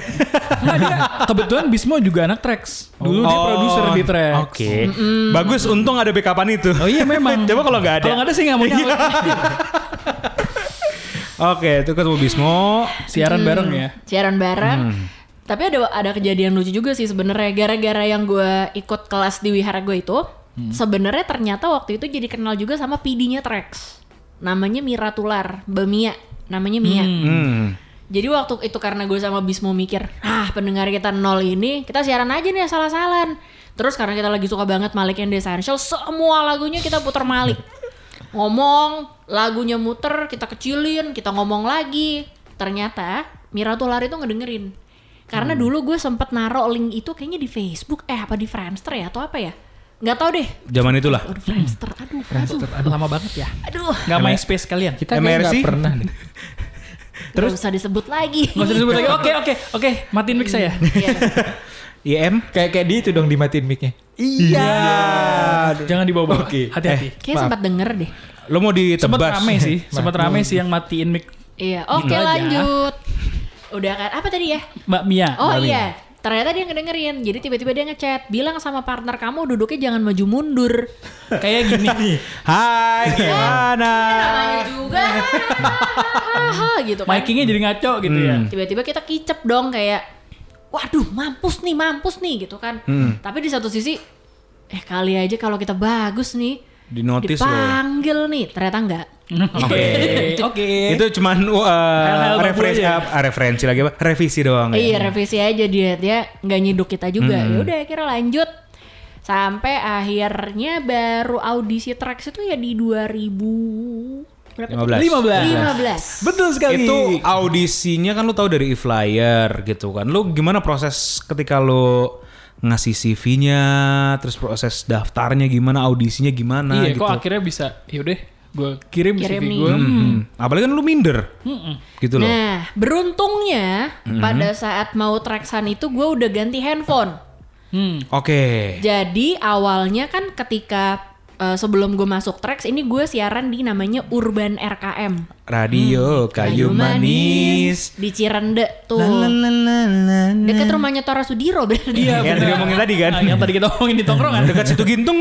Speaker 4: Nah, dia,
Speaker 2: kan-
Speaker 4: kebetulan Bismo juga anak Trax. Dulu dia
Speaker 3: Oh,
Speaker 4: produser di Trax.
Speaker 3: Oke. Bagus untung ada backupan itu. Oh iya memang. Coba kalau nggak ada. Iya.
Speaker 4: Kalau nggak ada sih nggak mau nyala.
Speaker 3: Oke, itu ketemu Bismo.
Speaker 4: Siaran bareng ya.
Speaker 2: Hmm. siaran bareng.
Speaker 5: Hmm.
Speaker 2: Tapi ada ada kejadian lucu juga sih sebenarnya gara-gara yang gue ikut kelas di wihara gue itu,
Speaker 5: Hmm.
Speaker 2: sebenarnya ternyata waktu itu jadi kenal juga sama PD-nya Trax. Namanya Mira Tular, Mbak Mia, namanya Mia.
Speaker 3: Hmm.
Speaker 2: Jadi waktu itu karena gue sama Bismo mikir, ah pendengar kita nol ini, kita siaran aja nih salah-salan. Terus karena kita lagi suka banget Malik and the Essential, semua lagunya kita putar Malik. Ngomong, lagunya muter, kita kecilin, kita ngomong lagi. Ternyata Mira Tular itu ngedengerin. Karena
Speaker 4: Hmm.
Speaker 2: dulu gue sempet naro link itu kayaknya di Facebook, eh apa di Friendster ya atau apa ya? Nggak tahu deh.
Speaker 3: Zaman itulah.
Speaker 2: Aduh, Friendster, aduh, aduh,
Speaker 4: Lama banget ya.
Speaker 2: aduh.
Speaker 4: Nggak main space kalian.
Speaker 5: Kita kayaknya
Speaker 3: MRC?
Speaker 5: nggak pernah deh.
Speaker 2: Terus usah disebut lagi.
Speaker 4: Nggak usah disebut lagi. Oke oke oke. Matiin mic saya.
Speaker 2: Iya.
Speaker 3: IM.
Speaker 5: Kayak kayak di itu dong dimatiin mic-nya.
Speaker 3: Iya.
Speaker 4: Jangan dibawa.
Speaker 3: Eh,
Speaker 5: Oke.
Speaker 4: Hati-hati.
Speaker 2: Kayaknya sempat denger deh.
Speaker 3: Lo mau ditebas.
Speaker 4: Sempet rame sih. Sempet rame sih yang matiin mic
Speaker 2: Iya, oke
Speaker 4: Gitu aja.
Speaker 2: lanjut. Udah kan, apa tadi ya?
Speaker 4: Mbak Mia.
Speaker 2: Oh
Speaker 4: Mbak Mia.
Speaker 2: iya, ternyata dia ngedengerin. Jadi tiba-tiba dia ngechat, bilang sama partner kamu duduknya jangan maju mundur.
Speaker 4: Kayak gini.
Speaker 3: Hai, gimana?
Speaker 2: Iya, Namanya juga, hahaha, gitu kan.
Speaker 4: Micingnya jadi ngaco gitu ya.
Speaker 3: Hmm.
Speaker 2: Tiba-tiba kita kicep dong kayak, waduh mampus nih, mampus nih gitu kan. Tapi di satu sisi, eh kali aja kalau kita bagus nih,
Speaker 3: Di notice lo.
Speaker 2: dipanggil nih. Ternyata enggak.
Speaker 3: Oke.
Speaker 4: Oke.
Speaker 3: Itu cuman uh,
Speaker 4: Iya. Hal-hal baru
Speaker 3: referensi,
Speaker 4: aja.
Speaker 3: ah, referensi lagi apa? Revisi doang ya.
Speaker 2: Iya revisi aja dia dia nggak nyiduk kita juga. Ya udah akhirnya lanjut sampai akhirnya baru audisi tracks itu ya di 2000 berapa?
Speaker 3: 15.
Speaker 2: 15.
Speaker 4: Betul sekali.
Speaker 3: Itu audisinya kan lu tahu dari e-flyer gitu kan. Lu gimana proses ketika lu ngasih CV-nya, terus proses daftarnya gimana, audisinya gimana
Speaker 4: iya,
Speaker 3: gitu.
Speaker 4: kok akhirnya bisa. Yaudah, gue kirim,
Speaker 2: Kirim
Speaker 4: CV
Speaker 2: nih.
Speaker 4: gue.
Speaker 3: Hmm. Apalagi kan lu minder.
Speaker 4: Hmm.
Speaker 3: Gitu loh.
Speaker 2: Nah, beruntungnya pada saat mau tracksan itu gue udah ganti handphone.
Speaker 4: Hmm.
Speaker 3: Oke.
Speaker 2: Jadi awalnya kan ketika eh, sebelum gue masuk tracks ini gue siaran di namanya Urban RKM. Hmm.
Speaker 3: Radio kayu manis.
Speaker 2: di Cirende tuh. Oh. Dekat rumahnya Tora Sudiro berarti.
Speaker 3: Yang
Speaker 4: Iya, bener.
Speaker 3: tadi ngomongin tadi kan.
Speaker 4: Ah, yang tadi kita ngomongin di kan? tongkrongan.
Speaker 3: Dekat situ gintung.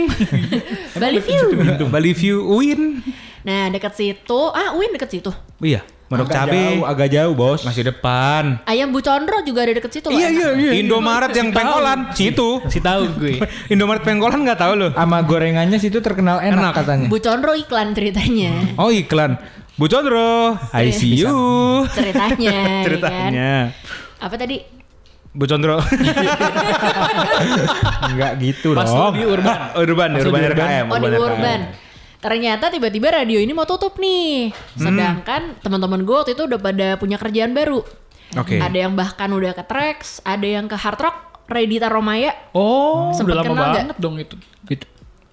Speaker 2: Bali View.
Speaker 3: Bali View Uin.
Speaker 2: Nah dekat situ, ah Uin dekat situ.
Speaker 3: Iya, Merok
Speaker 5: Agak
Speaker 3: cabe.
Speaker 5: jauh, agak jauh, Bos.
Speaker 3: Masih depan. Iya,
Speaker 2: Ayam Bu Condro juga ada dekat situ loh. enak.
Speaker 3: Indomaret yang pengkolan situ.
Speaker 4: Si tahu gue.
Speaker 3: Indomaret pengkolan nggak tahu loh.
Speaker 5: Sama gorengannya situ terkenal enak, katanya.
Speaker 2: Bu Condro iklan ceritanya.
Speaker 3: Oh iklan. Bu Condro, I see you.
Speaker 2: Ceritanya, ya kan?
Speaker 3: Ceritanya.
Speaker 2: Apa tadi?
Speaker 3: Bu Condro. Oh,
Speaker 5: Enggak gitu
Speaker 4: Pas lu
Speaker 5: dong.
Speaker 4: di Urban.
Speaker 3: Urban,
Speaker 4: Maksud
Speaker 3: Urban
Speaker 4: di Urban.
Speaker 3: RKM.
Speaker 2: Oh di Urban. Ternyata tiba-tiba radio ini mau tutup nih. Sedangkan teman-teman gue waktu itu udah pada punya kerjaan baru.
Speaker 3: Oke.
Speaker 2: Ada yang bahkan udah ke tracks, ada yang ke hard rock, Radita Romaya
Speaker 4: Oh,
Speaker 2: Sempet
Speaker 4: udah lama
Speaker 2: kenal
Speaker 4: banget dong itu.
Speaker 3: Itu-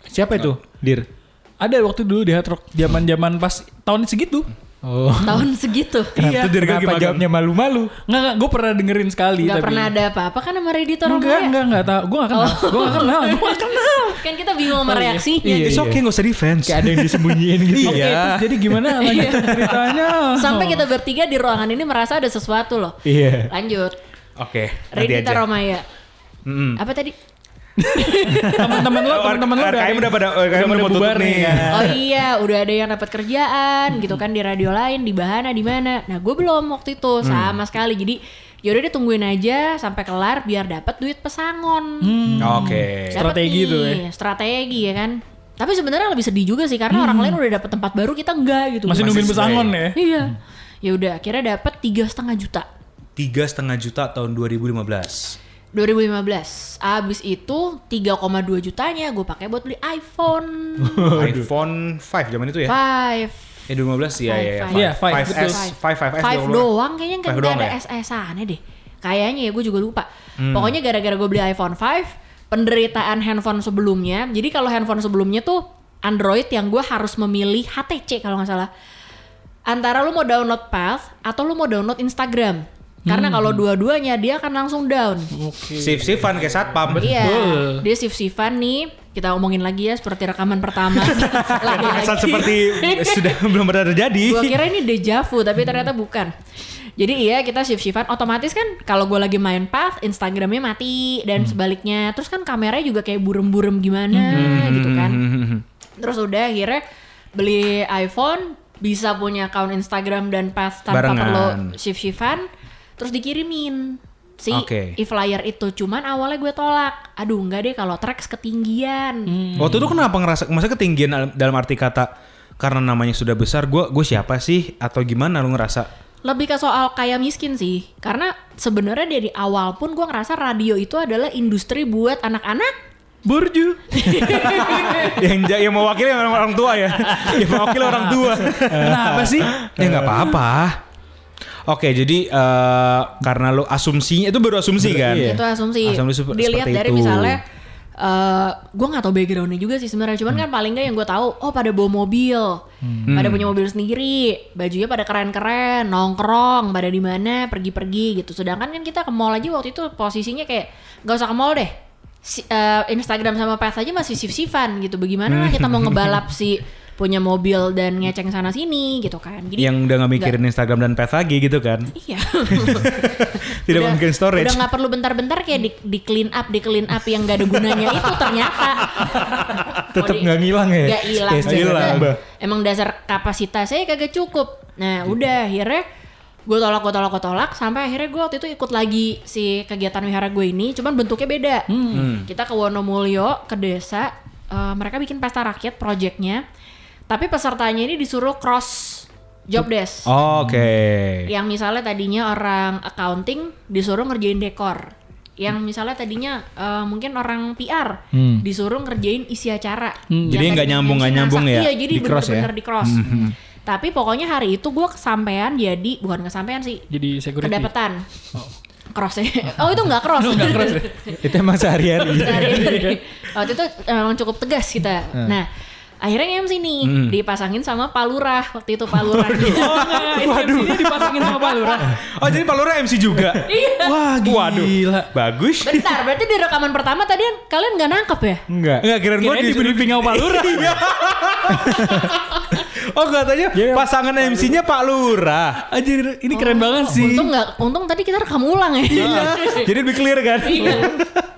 Speaker 3: Siapa itu?
Speaker 5: Dir.
Speaker 4: Ada waktu dulu di Hard Rock, zaman-zaman pas tahun segitu.
Speaker 5: Oh. Iya,
Speaker 2: tahun segitu.
Speaker 3: Kenapa Dir gak
Speaker 5: Kenapa
Speaker 3: gimana?
Speaker 5: jawabnya malu-malu?
Speaker 4: Enggak, enggak, gue pernah dengerin sekali.
Speaker 2: Gak
Speaker 4: tapi-
Speaker 2: pernah Oh. ada apa-apa kan sama Radita Romaya.
Speaker 4: Enggak, enggak, enggak tahu. Gue gak kenal. Gue gak kenal. Gue gak kenal.
Speaker 2: Kan kita bingung sama reaksinya.
Speaker 3: It's okay gak usah defense.
Speaker 5: Kayak ada yang disembunyiin
Speaker 3: Iya.
Speaker 5: gitu.
Speaker 4: Oke, terus jadi gimana
Speaker 2: Iya.
Speaker 4: lanjut ceritanya?
Speaker 2: Sampai kita bertiga di ruangan ini merasa ada sesuatu loh.
Speaker 5: Iya.
Speaker 2: Lanjut.
Speaker 3: Oke, nanti
Speaker 2: Radita
Speaker 3: aja.
Speaker 2: Romaya.
Speaker 3: Mm-mm.
Speaker 4: Hmm.
Speaker 2: Apa tadi?
Speaker 4: teman-teman lo, teman-teman lo
Speaker 3: RKM udah pada
Speaker 4: udah
Speaker 3: RKM udah mau tutup
Speaker 4: bubar
Speaker 3: nih.
Speaker 4: nih. kan.
Speaker 2: Oh iya, udah ada yang dapat kerjaan gitu kan di radio lain, di Bahana, di mana. Nah, gue belum waktu
Speaker 4: Hmm.
Speaker 2: itu sama sekali. Jadi yaudah deh tungguin aja sampai kelar biar dapat duit pesangon.
Speaker 3: ya. Oke.
Speaker 2: Dapet
Speaker 4: Hmm. Strategi
Speaker 2: nih,
Speaker 4: tuh ya.
Speaker 2: Strategi ya kan. Tapi sebenarnya lebih sedih juga sih karena orang lain udah dapat tempat baru kita enggak gitu.
Speaker 4: Hmm. Masih nungguin
Speaker 3: sesuai.
Speaker 4: pesangon ya.
Speaker 2: Iya. Ya udah akhirnya dapat tiga setengah juta.
Speaker 3: Tiga setengah juta tahun 2015.
Speaker 2: 2015. Abis itu 3,2 jutanya gue pakai buat beli iPhone.
Speaker 3: iPhone 5 zaman itu ya?
Speaker 2: Five.
Speaker 3: Eh 2015 ya ya ya.
Speaker 2: Five,
Speaker 4: Iya, five, betul.
Speaker 3: 5S, 5 5S.
Speaker 2: Five doang kayaknya nggak
Speaker 3: ya? Five
Speaker 2: nggak
Speaker 3: doang
Speaker 2: ada
Speaker 3: ya? Hmm.
Speaker 2: SS aneh deh. Kayaknya ya gue juga lupa. Pokoknya gara-gara gue beli iPhone 5, penderitaan handphone sebelumnya. Jadi kalau handphone sebelumnya tuh Android yang gue harus memilih HTC kalau nggak salah. Antara lu mau download Path atau lu mau download Instagram. Karena
Speaker 3: Hmm.
Speaker 2: kalau dua-duanya dia akan langsung down.
Speaker 3: Sif-sifan kayak satpam.
Speaker 2: Iya,
Speaker 4: Betul.
Speaker 2: dia sif-sifan nih. Kita omongin lagi ya seperti rekaman pertama. Lagi-lagi.
Speaker 3: Kesan seperti sudah belum pernah terjadi.
Speaker 2: Gua kira kan. ini deja vu tapi ternyata bukan. Jadi iya kita shift-shiftan otomatis kan kalau gue lagi main path Instagramnya mati dan sebaliknya terus kan kameranya juga kayak burem-burem gimana gitu
Speaker 3: Hmm,
Speaker 2: kan. Terus udah akhirnya beli iPhone bisa punya account Instagram dan path tanpa
Speaker 3: Barengan.
Speaker 2: perlu shift-shiftan terus dikirimin si
Speaker 3: Oke.
Speaker 2: e-flyer itu cuman awalnya gue tolak. Aduh enggak deh kalau tracks ketinggian.
Speaker 3: Hmm. Waktu itu kenapa ngerasa masa ketinggian dalam- dalam arti kata karena namanya sudah besar gue gue siapa sih atau gimana lu ngerasa
Speaker 2: Lebih ke soal kaya miskin sih. Karena sebenarnya dari awal pun gue ngerasa radio itu adalah industri buat anak-anak.
Speaker 4: Burju.
Speaker 3: yang ja- yang mewakili orang, orang tua ya yang mewakili orang tua
Speaker 4: Kenapa sih?
Speaker 3: ya nggak apa-apa oke jadi eh, karena lu asumsinya itu baru asumsi kan
Speaker 2: Itu asumsi.
Speaker 3: Asumsi sep-
Speaker 2: Dilihat
Speaker 3: seperti
Speaker 2: dari
Speaker 3: itu.
Speaker 2: misalnya eh gue nggak tahu backgroundnya juga sih sebenarnya
Speaker 3: Hmm.
Speaker 2: cuman kan paling nggak yang gue tahu oh pada bawa mobil pada punya mobil sendiri bajunya pada keren-keren nongkrong pada di mana pergi-pergi gitu sedangkan kan kita ke mall aja waktu itu posisinya kayak nggak usah ke mall deh Si- eh, Instagram sama Path aja masih sif-sifan gitu bagaimana lah kita mau ngebalap si punya mobil dan ngeceng sana sini gitu kan jadi
Speaker 3: yang udah nggak mikirin Instagram dan pet lagi gitu kan
Speaker 2: Iya.
Speaker 3: Tidak
Speaker 2: Udah-
Speaker 3: mungkin storage.
Speaker 2: Iya. Udah nggak perlu bentar-bentar kayak di, di clean up, di clean up yang gak ada gunanya itu ternyata.
Speaker 5: Tetep nggak ngilang ya?
Speaker 2: Gak Oh, iya. hilang.
Speaker 5: Space-nya nggak
Speaker 2: Ternyata
Speaker 5: nambah. Gitu.
Speaker 2: Emang dasar kapasitasnya kagak cukup. Nah udah akhirnya gue tolak, gue tolak, gue tolak sampai akhirnya gue waktu itu ikut lagi si kegiatan wihara gue ini, cuman bentuknya beda.
Speaker 5: Hmm.
Speaker 2: Kita ke Wonomulyo, ke desa, eh, mereka bikin pesta rakyat projectnya, tapi pesertanya ini disuruh cross job desk.
Speaker 3: oke Ya.
Speaker 2: Yang misalnya tadinya orang accounting disuruh ngerjain dekor. Yang misalnya tadinya eh, mungkin orang PR disuruh ngerjain isi acara.
Speaker 3: Hmm. Jadi nggak
Speaker 2: Yang tadinya
Speaker 3: nyambung- nggak
Speaker 2: MC
Speaker 3: nyambung
Speaker 2: masak.
Speaker 3: ya?
Speaker 2: Iya, jadi
Speaker 3: Di cross ya?
Speaker 2: bener-bener di cross. Tapi pokoknya hari itu gue kesampean jadi bukan kesampean sih.
Speaker 4: Jadi security.
Speaker 2: Kedapetan. Crossnya. Oh itu nggak cross.
Speaker 4: Nggak keras ya?
Speaker 5: Itu emang sehari-hari.
Speaker 2: Dari- Waktu itu emang cukup tegas kita.
Speaker 3: Hmm.
Speaker 2: Nah, akhirnya MC nih dipasangin sama Pak Lurah waktu itu Pak Lurah.
Speaker 4: Waduh. Nah, Ini dipasangin sama Pak Lurah.
Speaker 3: oh jadi Pak Lura MC juga
Speaker 4: Wah, gila.
Speaker 3: Iya. waduh bagus
Speaker 2: Bentar, berarti di rekaman pertama tadi kan kalian nggak nangkep ya?
Speaker 5: Enggak.
Speaker 3: Enggak kira gue
Speaker 4: Kirain di briefing sama Pak Lurah.
Speaker 3: Iya. oh katanya pasangan MC-nya Pak Lurah.
Speaker 4: Anjir, ini keren banget sih.
Speaker 2: Untung nggak, untung tadi kita rekam ulang ya.
Speaker 3: Jadi lebih clear kan?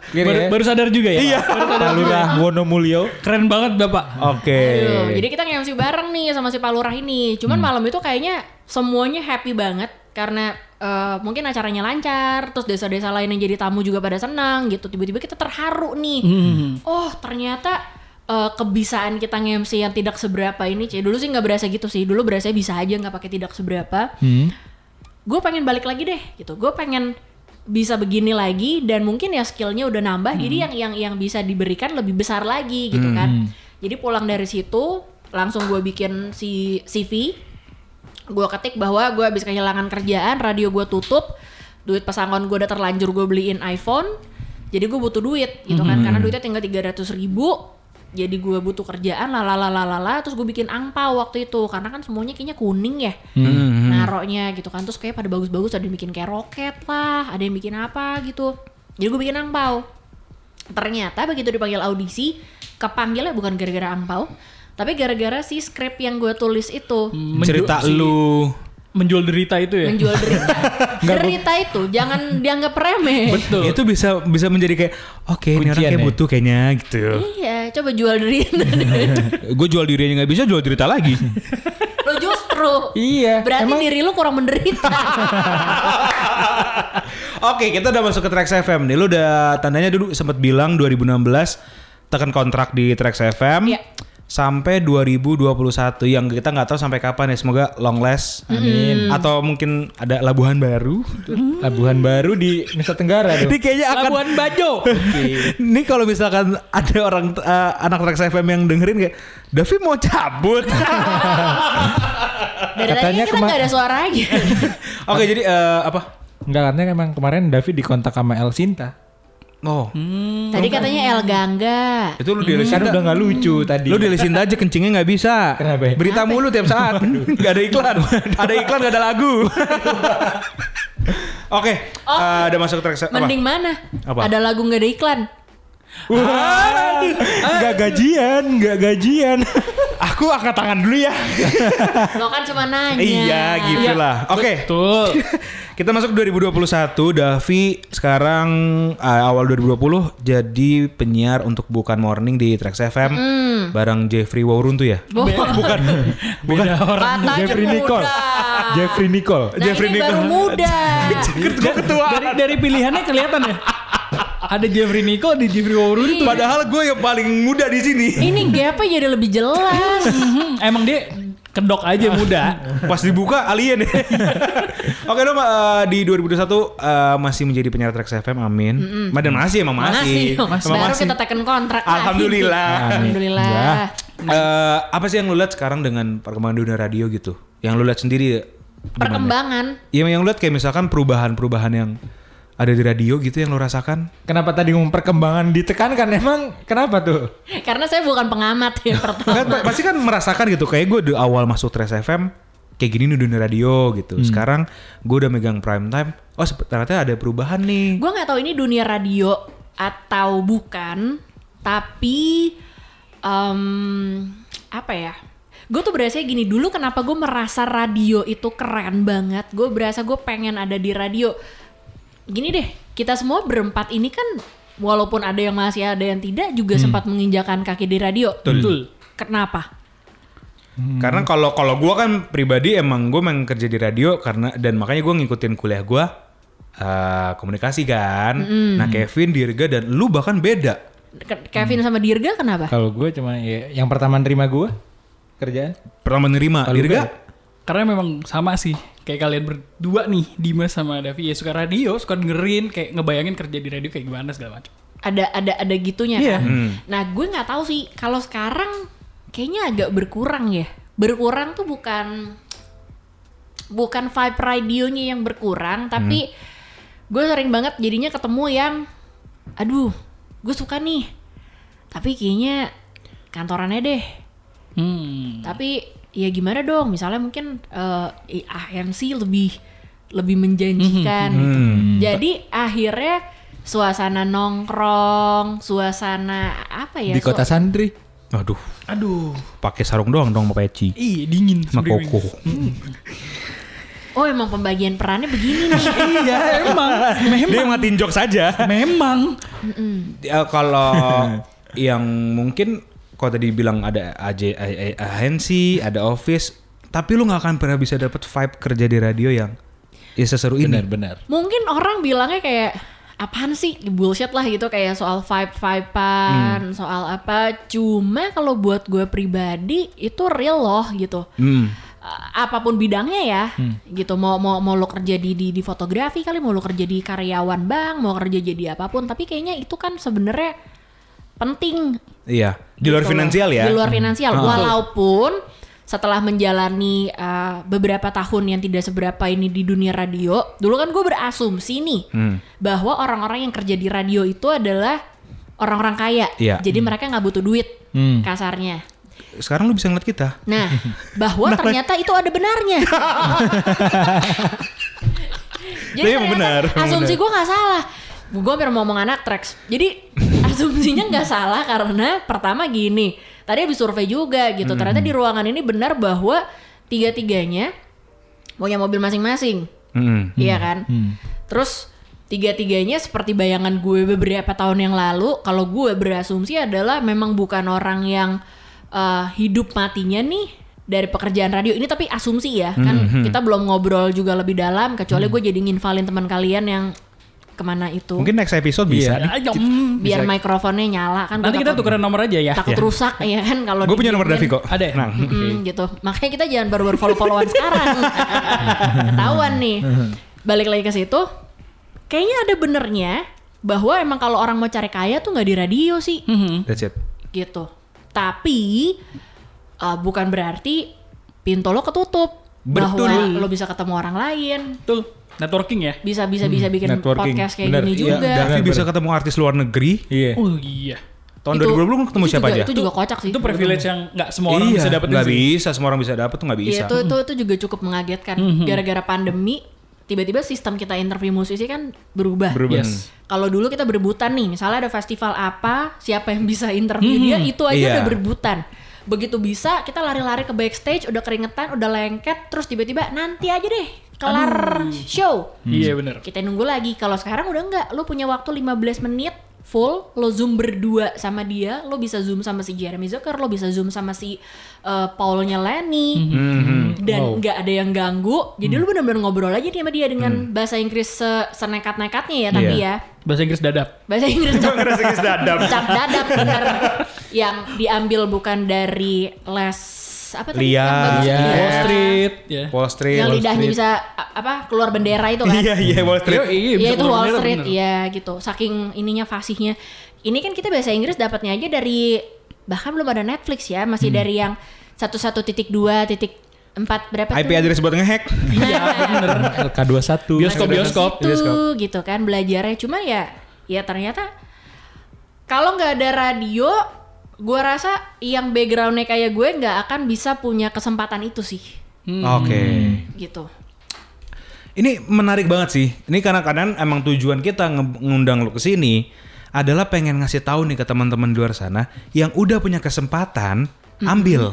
Speaker 5: Clear
Speaker 4: Baru,
Speaker 5: ya?
Speaker 4: baru sadar juga ya.
Speaker 3: Iya.
Speaker 4: Pak? Baru sadar.
Speaker 5: Palurah Wonomulyo.
Speaker 4: Keren banget Bapak.
Speaker 3: Oke.
Speaker 2: Aduh, jadi kita nge-MC bareng nih sama si Pak Lurah ini. Cuman malam itu kayaknya semuanya happy banget karena eh, mungkin acaranya lancar, terus desa-desa lain yang jadi tamu juga pada senang gitu. Tiba-tiba kita terharu nih. Oh, ternyata eh, kebisaan kita nge-MC yang tidak seberapa ini, Cie. Dulu sih nggak berasa gitu sih. Dulu berasa bisa aja nggak pakai tidak seberapa. gue pengen balik lagi deh gitu gue pengen bisa begini lagi dan mungkin ya skillnya udah nambah jadi yang yang yang bisa diberikan lebih besar lagi gitu kan jadi pulang dari situ langsung gue bikin si CV gue ketik bahwa gue habis kehilangan kerjaan radio gue tutup duit pesangon gue udah terlanjur gue beliin iPhone jadi gue butuh duit gitu kan karena duitnya tinggal 300 ribu jadi gue butuh kerjaan lalalalalala terus gue bikin angpau waktu itu karena kan semuanya kayaknya kuning ya
Speaker 5: Mhm.
Speaker 2: naroknya gitu kan terus kayak pada bagus-bagus ada yang bikin kayak roket lah ada yang bikin apa gitu jadi gue bikin angpau ternyata begitu dipanggil audisi kepanggilnya bukan gara-gara angpau tapi gara-gara si skrip yang gue tulis itu
Speaker 3: cerita
Speaker 4: Menju-
Speaker 3: lu
Speaker 4: menjual derita itu
Speaker 5: Iya.
Speaker 4: ya.
Speaker 2: menjual derita derita itu jangan dianggap remeh
Speaker 4: Betul.
Speaker 3: itu bisa bisa menjadi kayak oke ini orang
Speaker 5: Kuncian
Speaker 3: kayak
Speaker 5: ya.
Speaker 3: butuh kayaknya gitu
Speaker 2: iya coba jual derita
Speaker 3: gue jual diri aja nggak bisa jual derita lagi
Speaker 2: lo justru
Speaker 5: Iya,
Speaker 2: berarti
Speaker 5: emang-
Speaker 2: diri lu kurang menderita
Speaker 3: Oke, kita udah masuk ke Trax FM nih. Lu udah tandanya dulu sempat bilang 2016 tekan kontrak di Trax FM.
Speaker 2: Iya.
Speaker 3: Sampai 2021 yang kita nggak tahu sampai kapan ya. Semoga long last. Amin. Atau mungkin ada labuhan baru.
Speaker 5: Labuhan baru di Nusa Tenggara
Speaker 3: Ini
Speaker 5: tuh.
Speaker 3: kayaknya akan
Speaker 4: Labuan Bajo.
Speaker 3: Ini kalau misalkan ada orang eh, anak Trax FM yang dengerin kayak Davi mau cabut.
Speaker 2: dari tadi kan
Speaker 5: Katanya
Speaker 2: kita
Speaker 5: kema-
Speaker 2: nggak ada suara aja
Speaker 3: Oke, jadi eh, apa?
Speaker 5: Enggak karena emang kemarin David dikontak sama El Sinta.
Speaker 3: Oh,
Speaker 2: tadi katanya El Gangga
Speaker 3: itu lu di
Speaker 5: Kan udah nggak lucu
Speaker 2: Hmm.
Speaker 5: tadi.
Speaker 3: Lu dilisin aja kencingnya nggak bisa.
Speaker 5: Kenapa ya?
Speaker 3: Berita mulu tiap saat. Gak ada iklan. ada iklan gak ada lagu. Oke,
Speaker 2: Oh.
Speaker 3: eh, udah masuk track se- apa?
Speaker 2: mending mana
Speaker 3: Apa?
Speaker 2: ada lagu nggak ada iklan
Speaker 5: Wah, nggak gajian, nggak gajian.
Speaker 3: Aku angkat tangan dulu ya.
Speaker 2: lo kan cuma nanya
Speaker 3: iya, gitu lah. Oke.
Speaker 4: Betul.
Speaker 3: Kita masuk 2021, Davi sekarang eh, awal 2020 jadi penyiar untuk Bukan Morning di Trax FM
Speaker 2: Mm.
Speaker 3: bareng Jeffrey Waurun tuh ya.
Speaker 4: bukan. Bukan orang.
Speaker 2: Katanya
Speaker 5: Jeffrey
Speaker 2: muda.
Speaker 5: Nicole.
Speaker 2: Ah.
Speaker 5: Jeffrey Nicole.
Speaker 2: Nah
Speaker 3: Jeffrey
Speaker 2: ini baru
Speaker 3: Nicole.
Speaker 2: muda.
Speaker 4: Dari dari pilihannya kelihatan ya. Ada Jeffrey Nico, ada Jeffrey Waurun
Speaker 2: Iya.
Speaker 4: itu.
Speaker 3: Padahal gue yang paling muda di sini.
Speaker 2: ini gapnya jadi lebih jelas.
Speaker 4: Hmm, emang dia kedok aja muda.
Speaker 3: Pas dibuka alien. Oke dong eh, di 2021 eh, masih menjadi penyiar Trax FM amin. Madam masih emang masih.
Speaker 2: Emang
Speaker 3: Emang
Speaker 2: Baru
Speaker 3: masih.
Speaker 2: kita tekan kontrak lagi.
Speaker 3: Alhamdulillah.
Speaker 2: Alhamdulillah.
Speaker 3: Nah, eh, apa sih yang lu lihat sekarang dengan perkembangan dunia radio gitu? Yang lu lihat sendiri gimana?
Speaker 2: Perkembangan.
Speaker 3: Iya, yang lu lihat kayak misalkan perubahan-perubahan yang ada di radio gitu yang lu rasakan?
Speaker 5: Kenapa tadi ngomong perkembangan ditekankan emang kenapa tuh?
Speaker 2: Karena saya bukan pengamat ya pertama.
Speaker 3: Kan, pa- pasti kan merasakan gitu kayak gue di awal masuk Trash FM kayak gini nih dunia radio gitu. Sekarang gue udah megang prime time. Oh sep- ternyata ada perubahan nih.
Speaker 2: Gue nggak tahu ini dunia radio atau bukan, tapi em, apa ya? Gue tuh berasa gini dulu kenapa gue merasa radio itu keren banget. Gue berasa gue pengen ada di radio. Gini deh, kita semua berempat ini kan walaupun ada yang masih ada yang tidak juga sempat menginjakan kaki di radio.
Speaker 4: Hmm. Betul.
Speaker 2: Kenapa?
Speaker 3: Karena kalau kalau gue kan pribadi emang gue emang kerja di radio karena dan makanya gue ngikutin kuliah gue eh, komunikasi kan. Nah Kevin, Dirga dan lu bahkan beda.
Speaker 2: Ke- Kevin
Speaker 4: Hmm.
Speaker 2: sama Dirga kenapa?
Speaker 5: Kalau gue cuma ya, yang pertama nerima gue kerjaan.
Speaker 3: Pertama menerima
Speaker 5: Kalau
Speaker 3: Dirga.
Speaker 5: beda.
Speaker 4: Karena memang sama sih. Kayak kalian berdua nih, Dimas sama Davi. Ya suka radio, suka dengerin. Kayak ngebayangin kerja di radio kayak gimana segala macam.
Speaker 2: ada ada ada gitunya
Speaker 4: Iya.
Speaker 2: kan.
Speaker 3: Hmm.
Speaker 2: Nah, gue nggak tahu sih kalau sekarang kayaknya agak berkurang ya. Berkurang tuh bukan bukan vibe radionya yang berkurang,
Speaker 5: Hmm.
Speaker 2: tapi gue sering banget jadinya ketemu yang aduh, gue suka nih. Tapi kayaknya kantorannya deh.
Speaker 4: Hmm.
Speaker 2: Tapi ya gimana dong? Misalnya mungkin eh, AMC lebih lebih menjanjikan
Speaker 5: Hmm,
Speaker 2: gitu. Jadi akhirnya suasana nongkrong, suasana apa ya?
Speaker 5: Di kota
Speaker 2: sua-
Speaker 5: santri.
Speaker 3: Aduh,
Speaker 4: Aduh.
Speaker 3: pakai sarung doang dong sama peci.
Speaker 4: Ih, Iya, dingin.
Speaker 3: Sama
Speaker 4: sebenernya.
Speaker 3: koko.
Speaker 2: oh emang pembagian perannya begini nih.
Speaker 4: Iya, emang.
Speaker 3: Dia ngatin jok saja.
Speaker 4: Memang.
Speaker 3: Ya,
Speaker 5: Eh,
Speaker 3: kalau yang mungkin kalau tadi bilang ada AJ A- A- agensi, ada office, tapi lu nggak akan pernah bisa dapet vibe kerja di radio yang ya seseru ini.
Speaker 5: Benar.
Speaker 2: Mungkin orang bilangnya kayak apaan sih bullshit lah gitu kayak soal vibe vibean soal apa cuma kalau buat gue pribadi itu real loh gitu
Speaker 3: Hmm.
Speaker 2: Uh, apapun bidangnya ya gitu mau mau mau lo kerja di, di di fotografi kali mau lo kerja di karyawan bank mau kerja jadi apapun tapi kayaknya itu kan sebenarnya penting
Speaker 3: Iya, di luar
Speaker 2: gitu loh.
Speaker 3: finansial ya.
Speaker 2: di luar finansial
Speaker 3: Ah.
Speaker 2: walaupun setelah menjalani uh, beberapa tahun yang tidak seberapa ini di dunia radio, dulu kan gue berasumsi nih
Speaker 3: Hmm.
Speaker 5: Hmm.
Speaker 2: bahwa orang-orang yang kerja di radio itu adalah orang-orang kaya,
Speaker 3: Iya.
Speaker 2: jadi mereka nggak butuh duit
Speaker 5: Hmm.
Speaker 2: kasarnya.
Speaker 3: Sekarang lu bisa ngeliat kita.
Speaker 2: Nah, bahwa ternyata itu ada benarnya. Jadi
Speaker 3: Tapi emang Iya, benar,
Speaker 2: ternyata
Speaker 3: emang
Speaker 2: asumsi
Speaker 3: benar.
Speaker 2: gue nggak salah. Gue hampir mau ngomong anak tracks. Jadi asumsinya nggak salah karena pertama gini. Tadi habis survei juga gitu. Ternyata di
Speaker 3: Hmm.
Speaker 2: ruangan ini benar bahwa tiga-tiganya punya mobil masing-masing.
Speaker 5: Hmm.
Speaker 3: Mm-mm.
Speaker 2: Iya kan?
Speaker 3: Hmm.
Speaker 2: Terus tiga-tiganya seperti bayangan gue beberapa tahun yang lalu, kalau gue berasumsi adalah memang bukan orang yang eh, hidup matinya nih dari pekerjaan radio ini tapi
Speaker 3: Hmm,
Speaker 2: asumsi ya kan kita belum ngobrol juga lebih dalam kecuali gue jadi nginvalin teman kalian yang kemana itu
Speaker 3: Mungkin next
Speaker 2: Iya.
Speaker 3: episode bisa.
Speaker 4: Ya, ayo, mm.
Speaker 2: biar mikrofonnya nyala kan
Speaker 4: Nanti
Speaker 2: gua
Speaker 4: kita
Speaker 2: takut-
Speaker 4: tukeran nomor aja ya.
Speaker 3: Ya.
Speaker 2: takut rusak ya kan kalau
Speaker 3: Gue punya nomor Davi
Speaker 2: didiemin.
Speaker 3: kok.
Speaker 4: Ada ya?
Speaker 3: Nah,
Speaker 2: Mm-mm, gitu. Makanya kita jangan baru-baru follow-followan sekarang. Ketahuan nih. Balik lagi ke situ, kayaknya ada benernya bahwa emang kalau orang mau cari kaya tuh nggak di radio sih,
Speaker 3: Mm.
Speaker 4: Mhm.
Speaker 3: that's it.
Speaker 2: gitu. Tapi eh, bukan berarti pintu lo ketutup
Speaker 3: Betul.
Speaker 2: bahwa lo bisa ketemu orang lain,
Speaker 4: Betul. Networking ya.
Speaker 2: bisa bisa bisa bikin
Speaker 5: networking.
Speaker 2: podcast kayak
Speaker 5: Bener,
Speaker 2: gini
Speaker 5: iya,
Speaker 2: juga.
Speaker 5: dan-
Speaker 3: Davi bisa ketemu artis luar negeri.
Speaker 5: Iya.
Speaker 4: Oh iya.
Speaker 3: Tahun
Speaker 2: Itu-
Speaker 3: 2020 lu ketemu
Speaker 2: itu
Speaker 3: siapa
Speaker 2: juga-
Speaker 3: aja?
Speaker 2: Itu juga kocak sih.
Speaker 4: Itu privilege yang nggak semua orang
Speaker 3: Iya,
Speaker 4: bisa dapetin
Speaker 3: nggak
Speaker 4: sih.
Speaker 3: bisa, semua orang bisa dapet tuh nggak bisa. Mhm.
Speaker 2: Iya, itu, itu itu juga cukup mengagetkan. Gara-gara pandemi, tiba-tiba sistem kita interview musisi kan berubah.
Speaker 5: Berubah.
Speaker 4: Yes.
Speaker 2: Kalau dulu kita berebutan nih, misalnya ada festival apa, siapa yang bisa interview dia, itu aja
Speaker 3: Iya.
Speaker 2: udah berebutan. Begitu bisa, kita lari-lari ke backstage, udah keringetan, udah lengket, terus tiba-tiba nanti aja deh, kelar show.
Speaker 3: Hmm.
Speaker 4: Iya bener.
Speaker 2: Kita nunggu lagi. Kalau sekarang udah enggak, lu punya waktu 15 menit full, lo zoom berdua sama dia, lo bisa zoom sama si Jeremy Zucker, lo bisa zoom sama si eh, Paulnya Lenny,
Speaker 3: Mhm. Hmm.
Speaker 2: dan nggak ada yang ganggu. Jadi lu bener-bener ngobrol aja nih sama dia dengan bahasa Inggris se- senekat-nekatnya ya tapi
Speaker 3: Iya.
Speaker 2: ya.
Speaker 4: Bahasa Inggris dadap.
Speaker 2: Bahasa Inggris cak
Speaker 3: Bahasa Inggris dadap.
Speaker 2: cak dadap bener yang diambil bukan dari les apa tadi
Speaker 3: Lia,
Speaker 2: yang bagus?
Speaker 3: Lia.
Speaker 4: Wall
Speaker 2: Iya.
Speaker 4: Street. Ya.
Speaker 3: Wall Street.
Speaker 2: yang
Speaker 3: Wall
Speaker 2: lidahnya
Speaker 3: Street.
Speaker 2: bisa a- apa keluar bendera itu kan
Speaker 3: Iya, iya Wall Street.
Speaker 4: iya,
Speaker 2: Iya
Speaker 4: bisa
Speaker 2: itu
Speaker 4: keluar
Speaker 2: Wall
Speaker 4: bendera,
Speaker 2: Street
Speaker 4: bener.
Speaker 2: ya gitu saking ininya fasihnya ini kan kita bahasa Inggris dapatnya aja dari bahkan belum ada Netflix ya masih dari yang satu satu titik dua titik empat berapa
Speaker 3: IP
Speaker 2: tuh?
Speaker 3: address buat ngehack.
Speaker 2: Iya bener.
Speaker 5: LK21.
Speaker 4: Bioskop bioskop.
Speaker 2: Itu gitu kan belajarnya cuma ya ya ternyata kalau nggak ada radio gue rasa yang backgroundnya kayak gue nggak akan bisa punya kesempatan itu sih Hmm.
Speaker 3: Oke.
Speaker 5: Hmm.
Speaker 2: gitu
Speaker 3: Ini menarik banget sih. Ini karena kadang emang tujuan kita nge- ngundang lu ke sini adalah pengen ngasih tahu nih ke teman-teman di luar sana yang udah punya kesempatan ambil.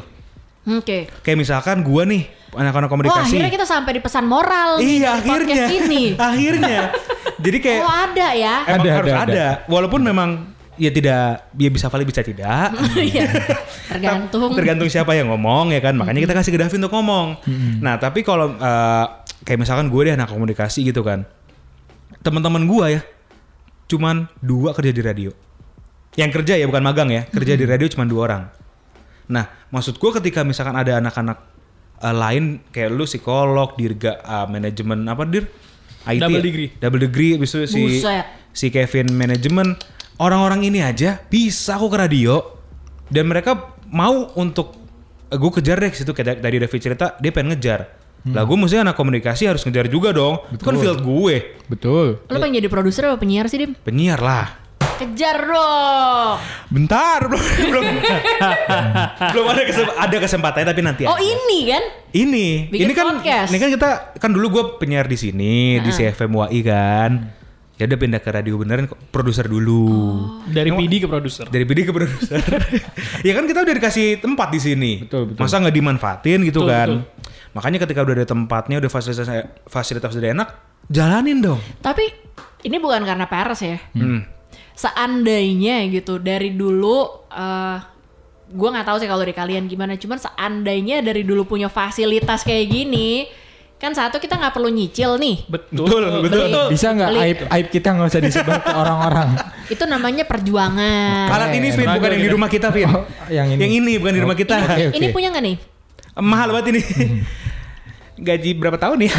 Speaker 2: oke
Speaker 3: Kayak misalkan gua nih anak-anak
Speaker 2: Wah
Speaker 3: komunikasi.
Speaker 2: akhirnya kita sampai di pesan moral nih
Speaker 3: iya,
Speaker 2: di podcast
Speaker 3: akhirnya.
Speaker 2: ini.
Speaker 3: akhirnya. Jadi kayak
Speaker 2: Oh ada ya.
Speaker 3: emang
Speaker 5: Ada,
Speaker 3: harus ada,
Speaker 5: ada, ada.
Speaker 3: Walaupun memang ya tidak ya bisa valid bisa tidak.
Speaker 2: Iya. Tergantung.
Speaker 3: Eh. tergantung siapa yang ngomong ya kan makanya kita kasih ke Davin untuk ngomong nah tapi kalau eh, kayak misalkan gue deh anak komunikasi gitu kan teman-teman gue ya cuman dua kerja di radio yang kerja ya bukan magang ya kerja di radio cuman dua orang nah maksud gue ketika misalkan ada anak-anak eh, lain kayak lu psikolog dirga eh, manajemen apa dir IT ya?
Speaker 4: Double degree.
Speaker 3: double degree abis itu si
Speaker 2: Buset.
Speaker 3: si Kevin manajemen orang-orang ini aja bisa kok ke radio dan mereka mau untuk "Eh, gue kejar deh ke situ kayak tadi David cerita dia pengen ngejar lah gue mesti anak komunikasi harus ngejar juga dong itu kan field gue
Speaker 5: Betul.
Speaker 2: Lo pengen jadi produser apa penyiar sih Dim?
Speaker 3: penyiar lah
Speaker 2: Kejar dong.
Speaker 3: bentar belum belum belum ada kesempatan ada kesempatannya tapi nanti
Speaker 2: Oh
Speaker 3: aja.
Speaker 2: ini kan?
Speaker 3: ini
Speaker 2: Bikin
Speaker 3: ini kan
Speaker 2: podcast.
Speaker 3: ini kan kita kan dulu gue penyiar di sini di CFM WI kan ya udah pindah ke radio beneran kok, produser dulu
Speaker 2: Oh.
Speaker 4: Dari PD ke produser.
Speaker 3: dari PD ke produser. ya kan kita udah dikasih tempat di sini.
Speaker 5: Betul, betul.
Speaker 3: Masa nggak dimanfaatin gitu
Speaker 4: Betul,
Speaker 3: kan?
Speaker 4: betul.
Speaker 3: Makanya ketika udah ada tempatnya, udah fasilitas eh, fasilitas udah enak, jalanin dong.
Speaker 2: Tapi ini bukan karena Paris ya.
Speaker 3: Hmm.
Speaker 2: Seandainya gitu dari dulu eh gue nggak tahu sih kalau dari kalian gimana. Cuman seandainya dari dulu punya fasilitas kayak gini, kan satu kita nggak perlu nyicil nih.
Speaker 4: Betul.
Speaker 3: Betul, betul.
Speaker 5: Bisa nggak
Speaker 2: Beli.
Speaker 5: aib aib kita nggak usah disebar ke orang-orang?
Speaker 2: Itu namanya perjuangan.
Speaker 3: Alat ini Vin,
Speaker 4: Tenaga
Speaker 3: bukan yang di
Speaker 4: gitu.
Speaker 3: rumah kita, Vin.
Speaker 5: Oh, yang ini.
Speaker 3: Yang ini bukan di rumah kita.
Speaker 5: Oke, oke.
Speaker 2: Ini punya nggak nih?
Speaker 3: Mahal banget ini. Gaji berapa tahun ya?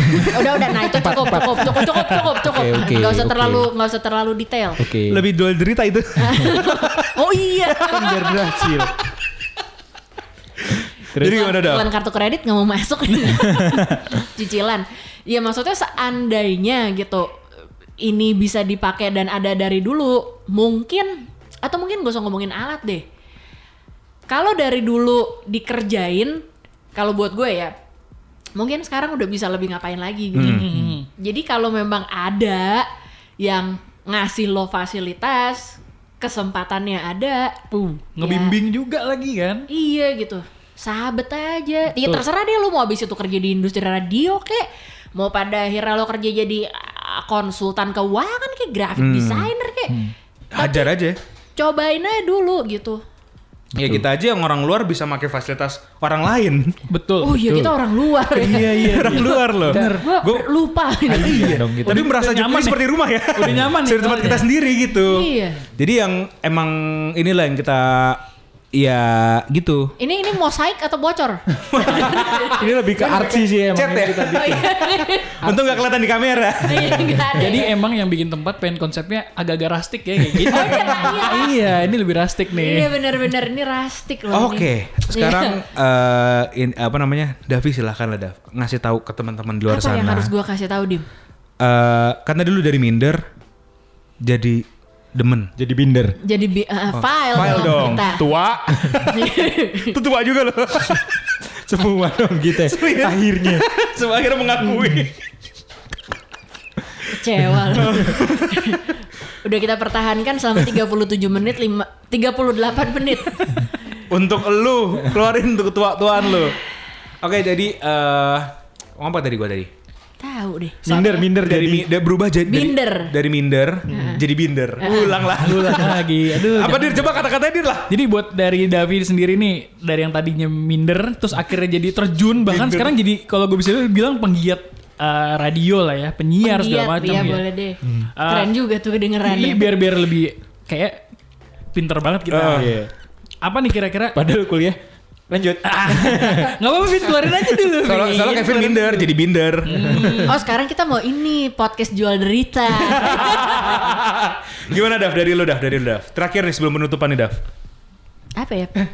Speaker 2: Udah udah nah itu cukup cukup cukup cukup cukup cukup.
Speaker 5: Oke, oke,
Speaker 2: Nggak usah
Speaker 5: oke.
Speaker 2: terlalu nggak usah terlalu detail.
Speaker 5: Oke.
Speaker 3: Lebih dua derita itu.
Speaker 2: oh iya.
Speaker 5: Kan biar berhasil.
Speaker 3: Jadi gimana dong?
Speaker 2: Iklan kartu kredit nggak mau masuk cicilan ya maksudnya seandainya gitu ini bisa dipakai dan ada dari dulu mungkin atau mungkin gak usah ngomongin alat deh kalau dari dulu dikerjain kalau buat gue ya mungkin sekarang udah bisa lebih ngapain lagi gitu
Speaker 4: Hmm. Iya.
Speaker 2: jadi kalau memang ada yang ngasih lo fasilitas kesempatannya ada
Speaker 4: Puh, ngebimbing juga lagi kan?
Speaker 2: Iya gitu. Sahabat aja. Iya terserah deh lu mau abis itu kerja di industri radio kek. Mau pada akhirnya lo kerja jadi ah, konsultan keuangan kek.
Speaker 3: Hmm.
Speaker 2: Graphic designer kek.
Speaker 3: Hajar aja.
Speaker 2: Cobain aja dulu gitu.
Speaker 3: Ya kita aja yang orang luar bisa pakai fasilitas orang lain.
Speaker 4: Betul.
Speaker 2: Oh iya kita orang luar ya.
Speaker 3: orang luar loh.
Speaker 2: Gue
Speaker 3: Iya, Gua
Speaker 2: lupa.
Speaker 5: Iya dong gitu.
Speaker 3: Tapi merasa
Speaker 4: udah
Speaker 3: juga
Speaker 4: nyaman
Speaker 3: ini
Speaker 4: ya.
Speaker 3: seperti rumah ya.
Speaker 4: Udah nyaman ya
Speaker 3: Seperti tempat
Speaker 4: soalnya.
Speaker 3: kita sendiri gitu.
Speaker 2: Iya.
Speaker 3: Jadi yang emang inilah yang kita ya gitu.
Speaker 2: Ini ini mosaik atau bocor?
Speaker 5: Ini lebih ke artsy sih emang. gitu.
Speaker 3: Chat ya.
Speaker 2: Oh, iya.
Speaker 3: Untung nggak kelihatan di kamera.
Speaker 2: Iya, nggak ada
Speaker 4: Jadi
Speaker 2: ya.
Speaker 4: emang yang bikin tempat pengen konsepnya agak-agak rustic ya kayak gitu.
Speaker 2: Oh, iya, iya.
Speaker 4: iya, ini lebih rustic
Speaker 2: Iya
Speaker 4: nih.
Speaker 2: benar-benar ini rustic loh.
Speaker 3: E. Oke,
Speaker 2: ini. Iya.
Speaker 3: sekarang eh, in- apa namanya? Davi silahkan lah Dav ngasih tahu ke teman-teman di luar
Speaker 2: apa
Speaker 3: sana.
Speaker 2: yang harus gue kasih tahu Dim?
Speaker 3: Eh, karena dulu dari minder jadi demen.
Speaker 5: Jadi binder.
Speaker 2: Jadi bi- eh, file,
Speaker 3: Oh, File dong.
Speaker 2: kita.
Speaker 3: Tua. Itu tua juga loh.
Speaker 5: Semua dong gitu.
Speaker 3: Serius.
Speaker 5: Akhirnya.
Speaker 3: Semua akhirnya mengakui.
Speaker 2: Kecewa lu. Udah kita pertahankan selama 37 menit, lima- 38 menit.
Speaker 3: untuk lu keluarin untuk ketua-tuaan lu. Oke, jadi eh apa tadi gua tadi?
Speaker 2: Tahu deh.
Speaker 5: Minder, minder
Speaker 3: Dari mi-
Speaker 5: jadi.
Speaker 3: da- berubah jadi dari-
Speaker 2: Binder.
Speaker 3: Dari, minder jadi binder. Ulang lah.
Speaker 4: Aduh lagi lagi. Aduh.
Speaker 3: Apa
Speaker 4: jangan.
Speaker 3: dir coba kata-katanya dir lah.
Speaker 4: Jadi buat dari David sendiri nih, dari yang tadinya minder, terus akhirnya jadi terjun, bahkan
Speaker 3: Minder.
Speaker 4: sekarang jadi kalau gue bisa bilang penggiat eh, radio lah ya, penyiar
Speaker 2: Penggiat,
Speaker 4: segala macam
Speaker 2: iya,
Speaker 4: ya.
Speaker 2: boleh ya. deh. Keren juga tuh kedengeran.
Speaker 4: Jadi biar biar lebih kayak pinter banget kita.
Speaker 3: Ah,
Speaker 5: Iya.
Speaker 4: Apa nih kira-kira?
Speaker 5: Padahal kuliah. Lanjut.
Speaker 4: Nggak apa-apa, Vin, keluarin aja dulu.
Speaker 3: Soalnya
Speaker 4: Vin.
Speaker 3: soalnya Kevin minder jadi binder.
Speaker 4: iya.
Speaker 2: Oh sekarang kita mau ini podcast jual derita.
Speaker 3: Gimana Dav dari lu Dav dari lu Dav. Terakhir nih sebelum penutupan nih Dav.
Speaker 2: apa ya?
Speaker 4: Eh.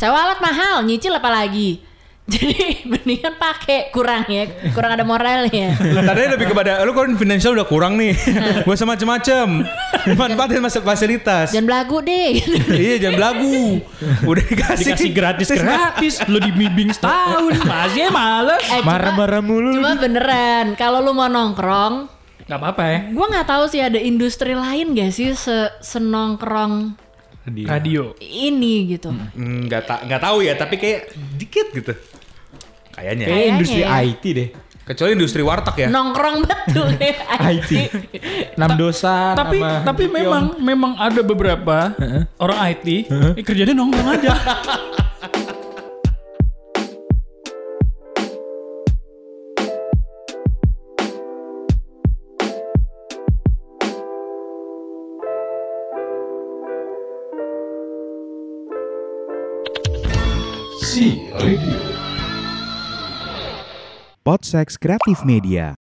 Speaker 2: Sewa alat mahal, nyicil apa lagi? Jadi mendingan pakai kurang ya, kurang ada moralnya.
Speaker 3: Tadi lebih kepada lu kan financial udah kurang nih. Gua sama macem-macem. Manfaatin mas- fasilitas.
Speaker 2: Jangan belagu deh. Eh,
Speaker 3: iya jangan belagu. Udah dikasih,
Speaker 4: dikasih gratis gratis lu dibimbing setahun masih ya males
Speaker 2: Eh, cuma-
Speaker 5: Marah-marah mulu Eh, lu.
Speaker 2: Cuma beneran, kalau lu mau nongkrong,
Speaker 4: nggak apa-apa ya
Speaker 2: Gue nggak tahu sih ada industri lain gak sih se senongkrong
Speaker 4: radio
Speaker 2: ini gitu.
Speaker 3: Hmm. Nggak ta nggak tahu ya, tapi kayak dikit gitu. Kayaknya.
Speaker 5: Kayaknya industri
Speaker 2: ya.
Speaker 5: IT deh.
Speaker 3: Kecuali industri warteg ya.
Speaker 2: Nongkrong betul ya.
Speaker 5: IT. Enam dosa.
Speaker 4: tapi tapi memang memang ada beberapa orang IT eh, kerjanya nongkrong aja
Speaker 1: Podsex Kreatif Media.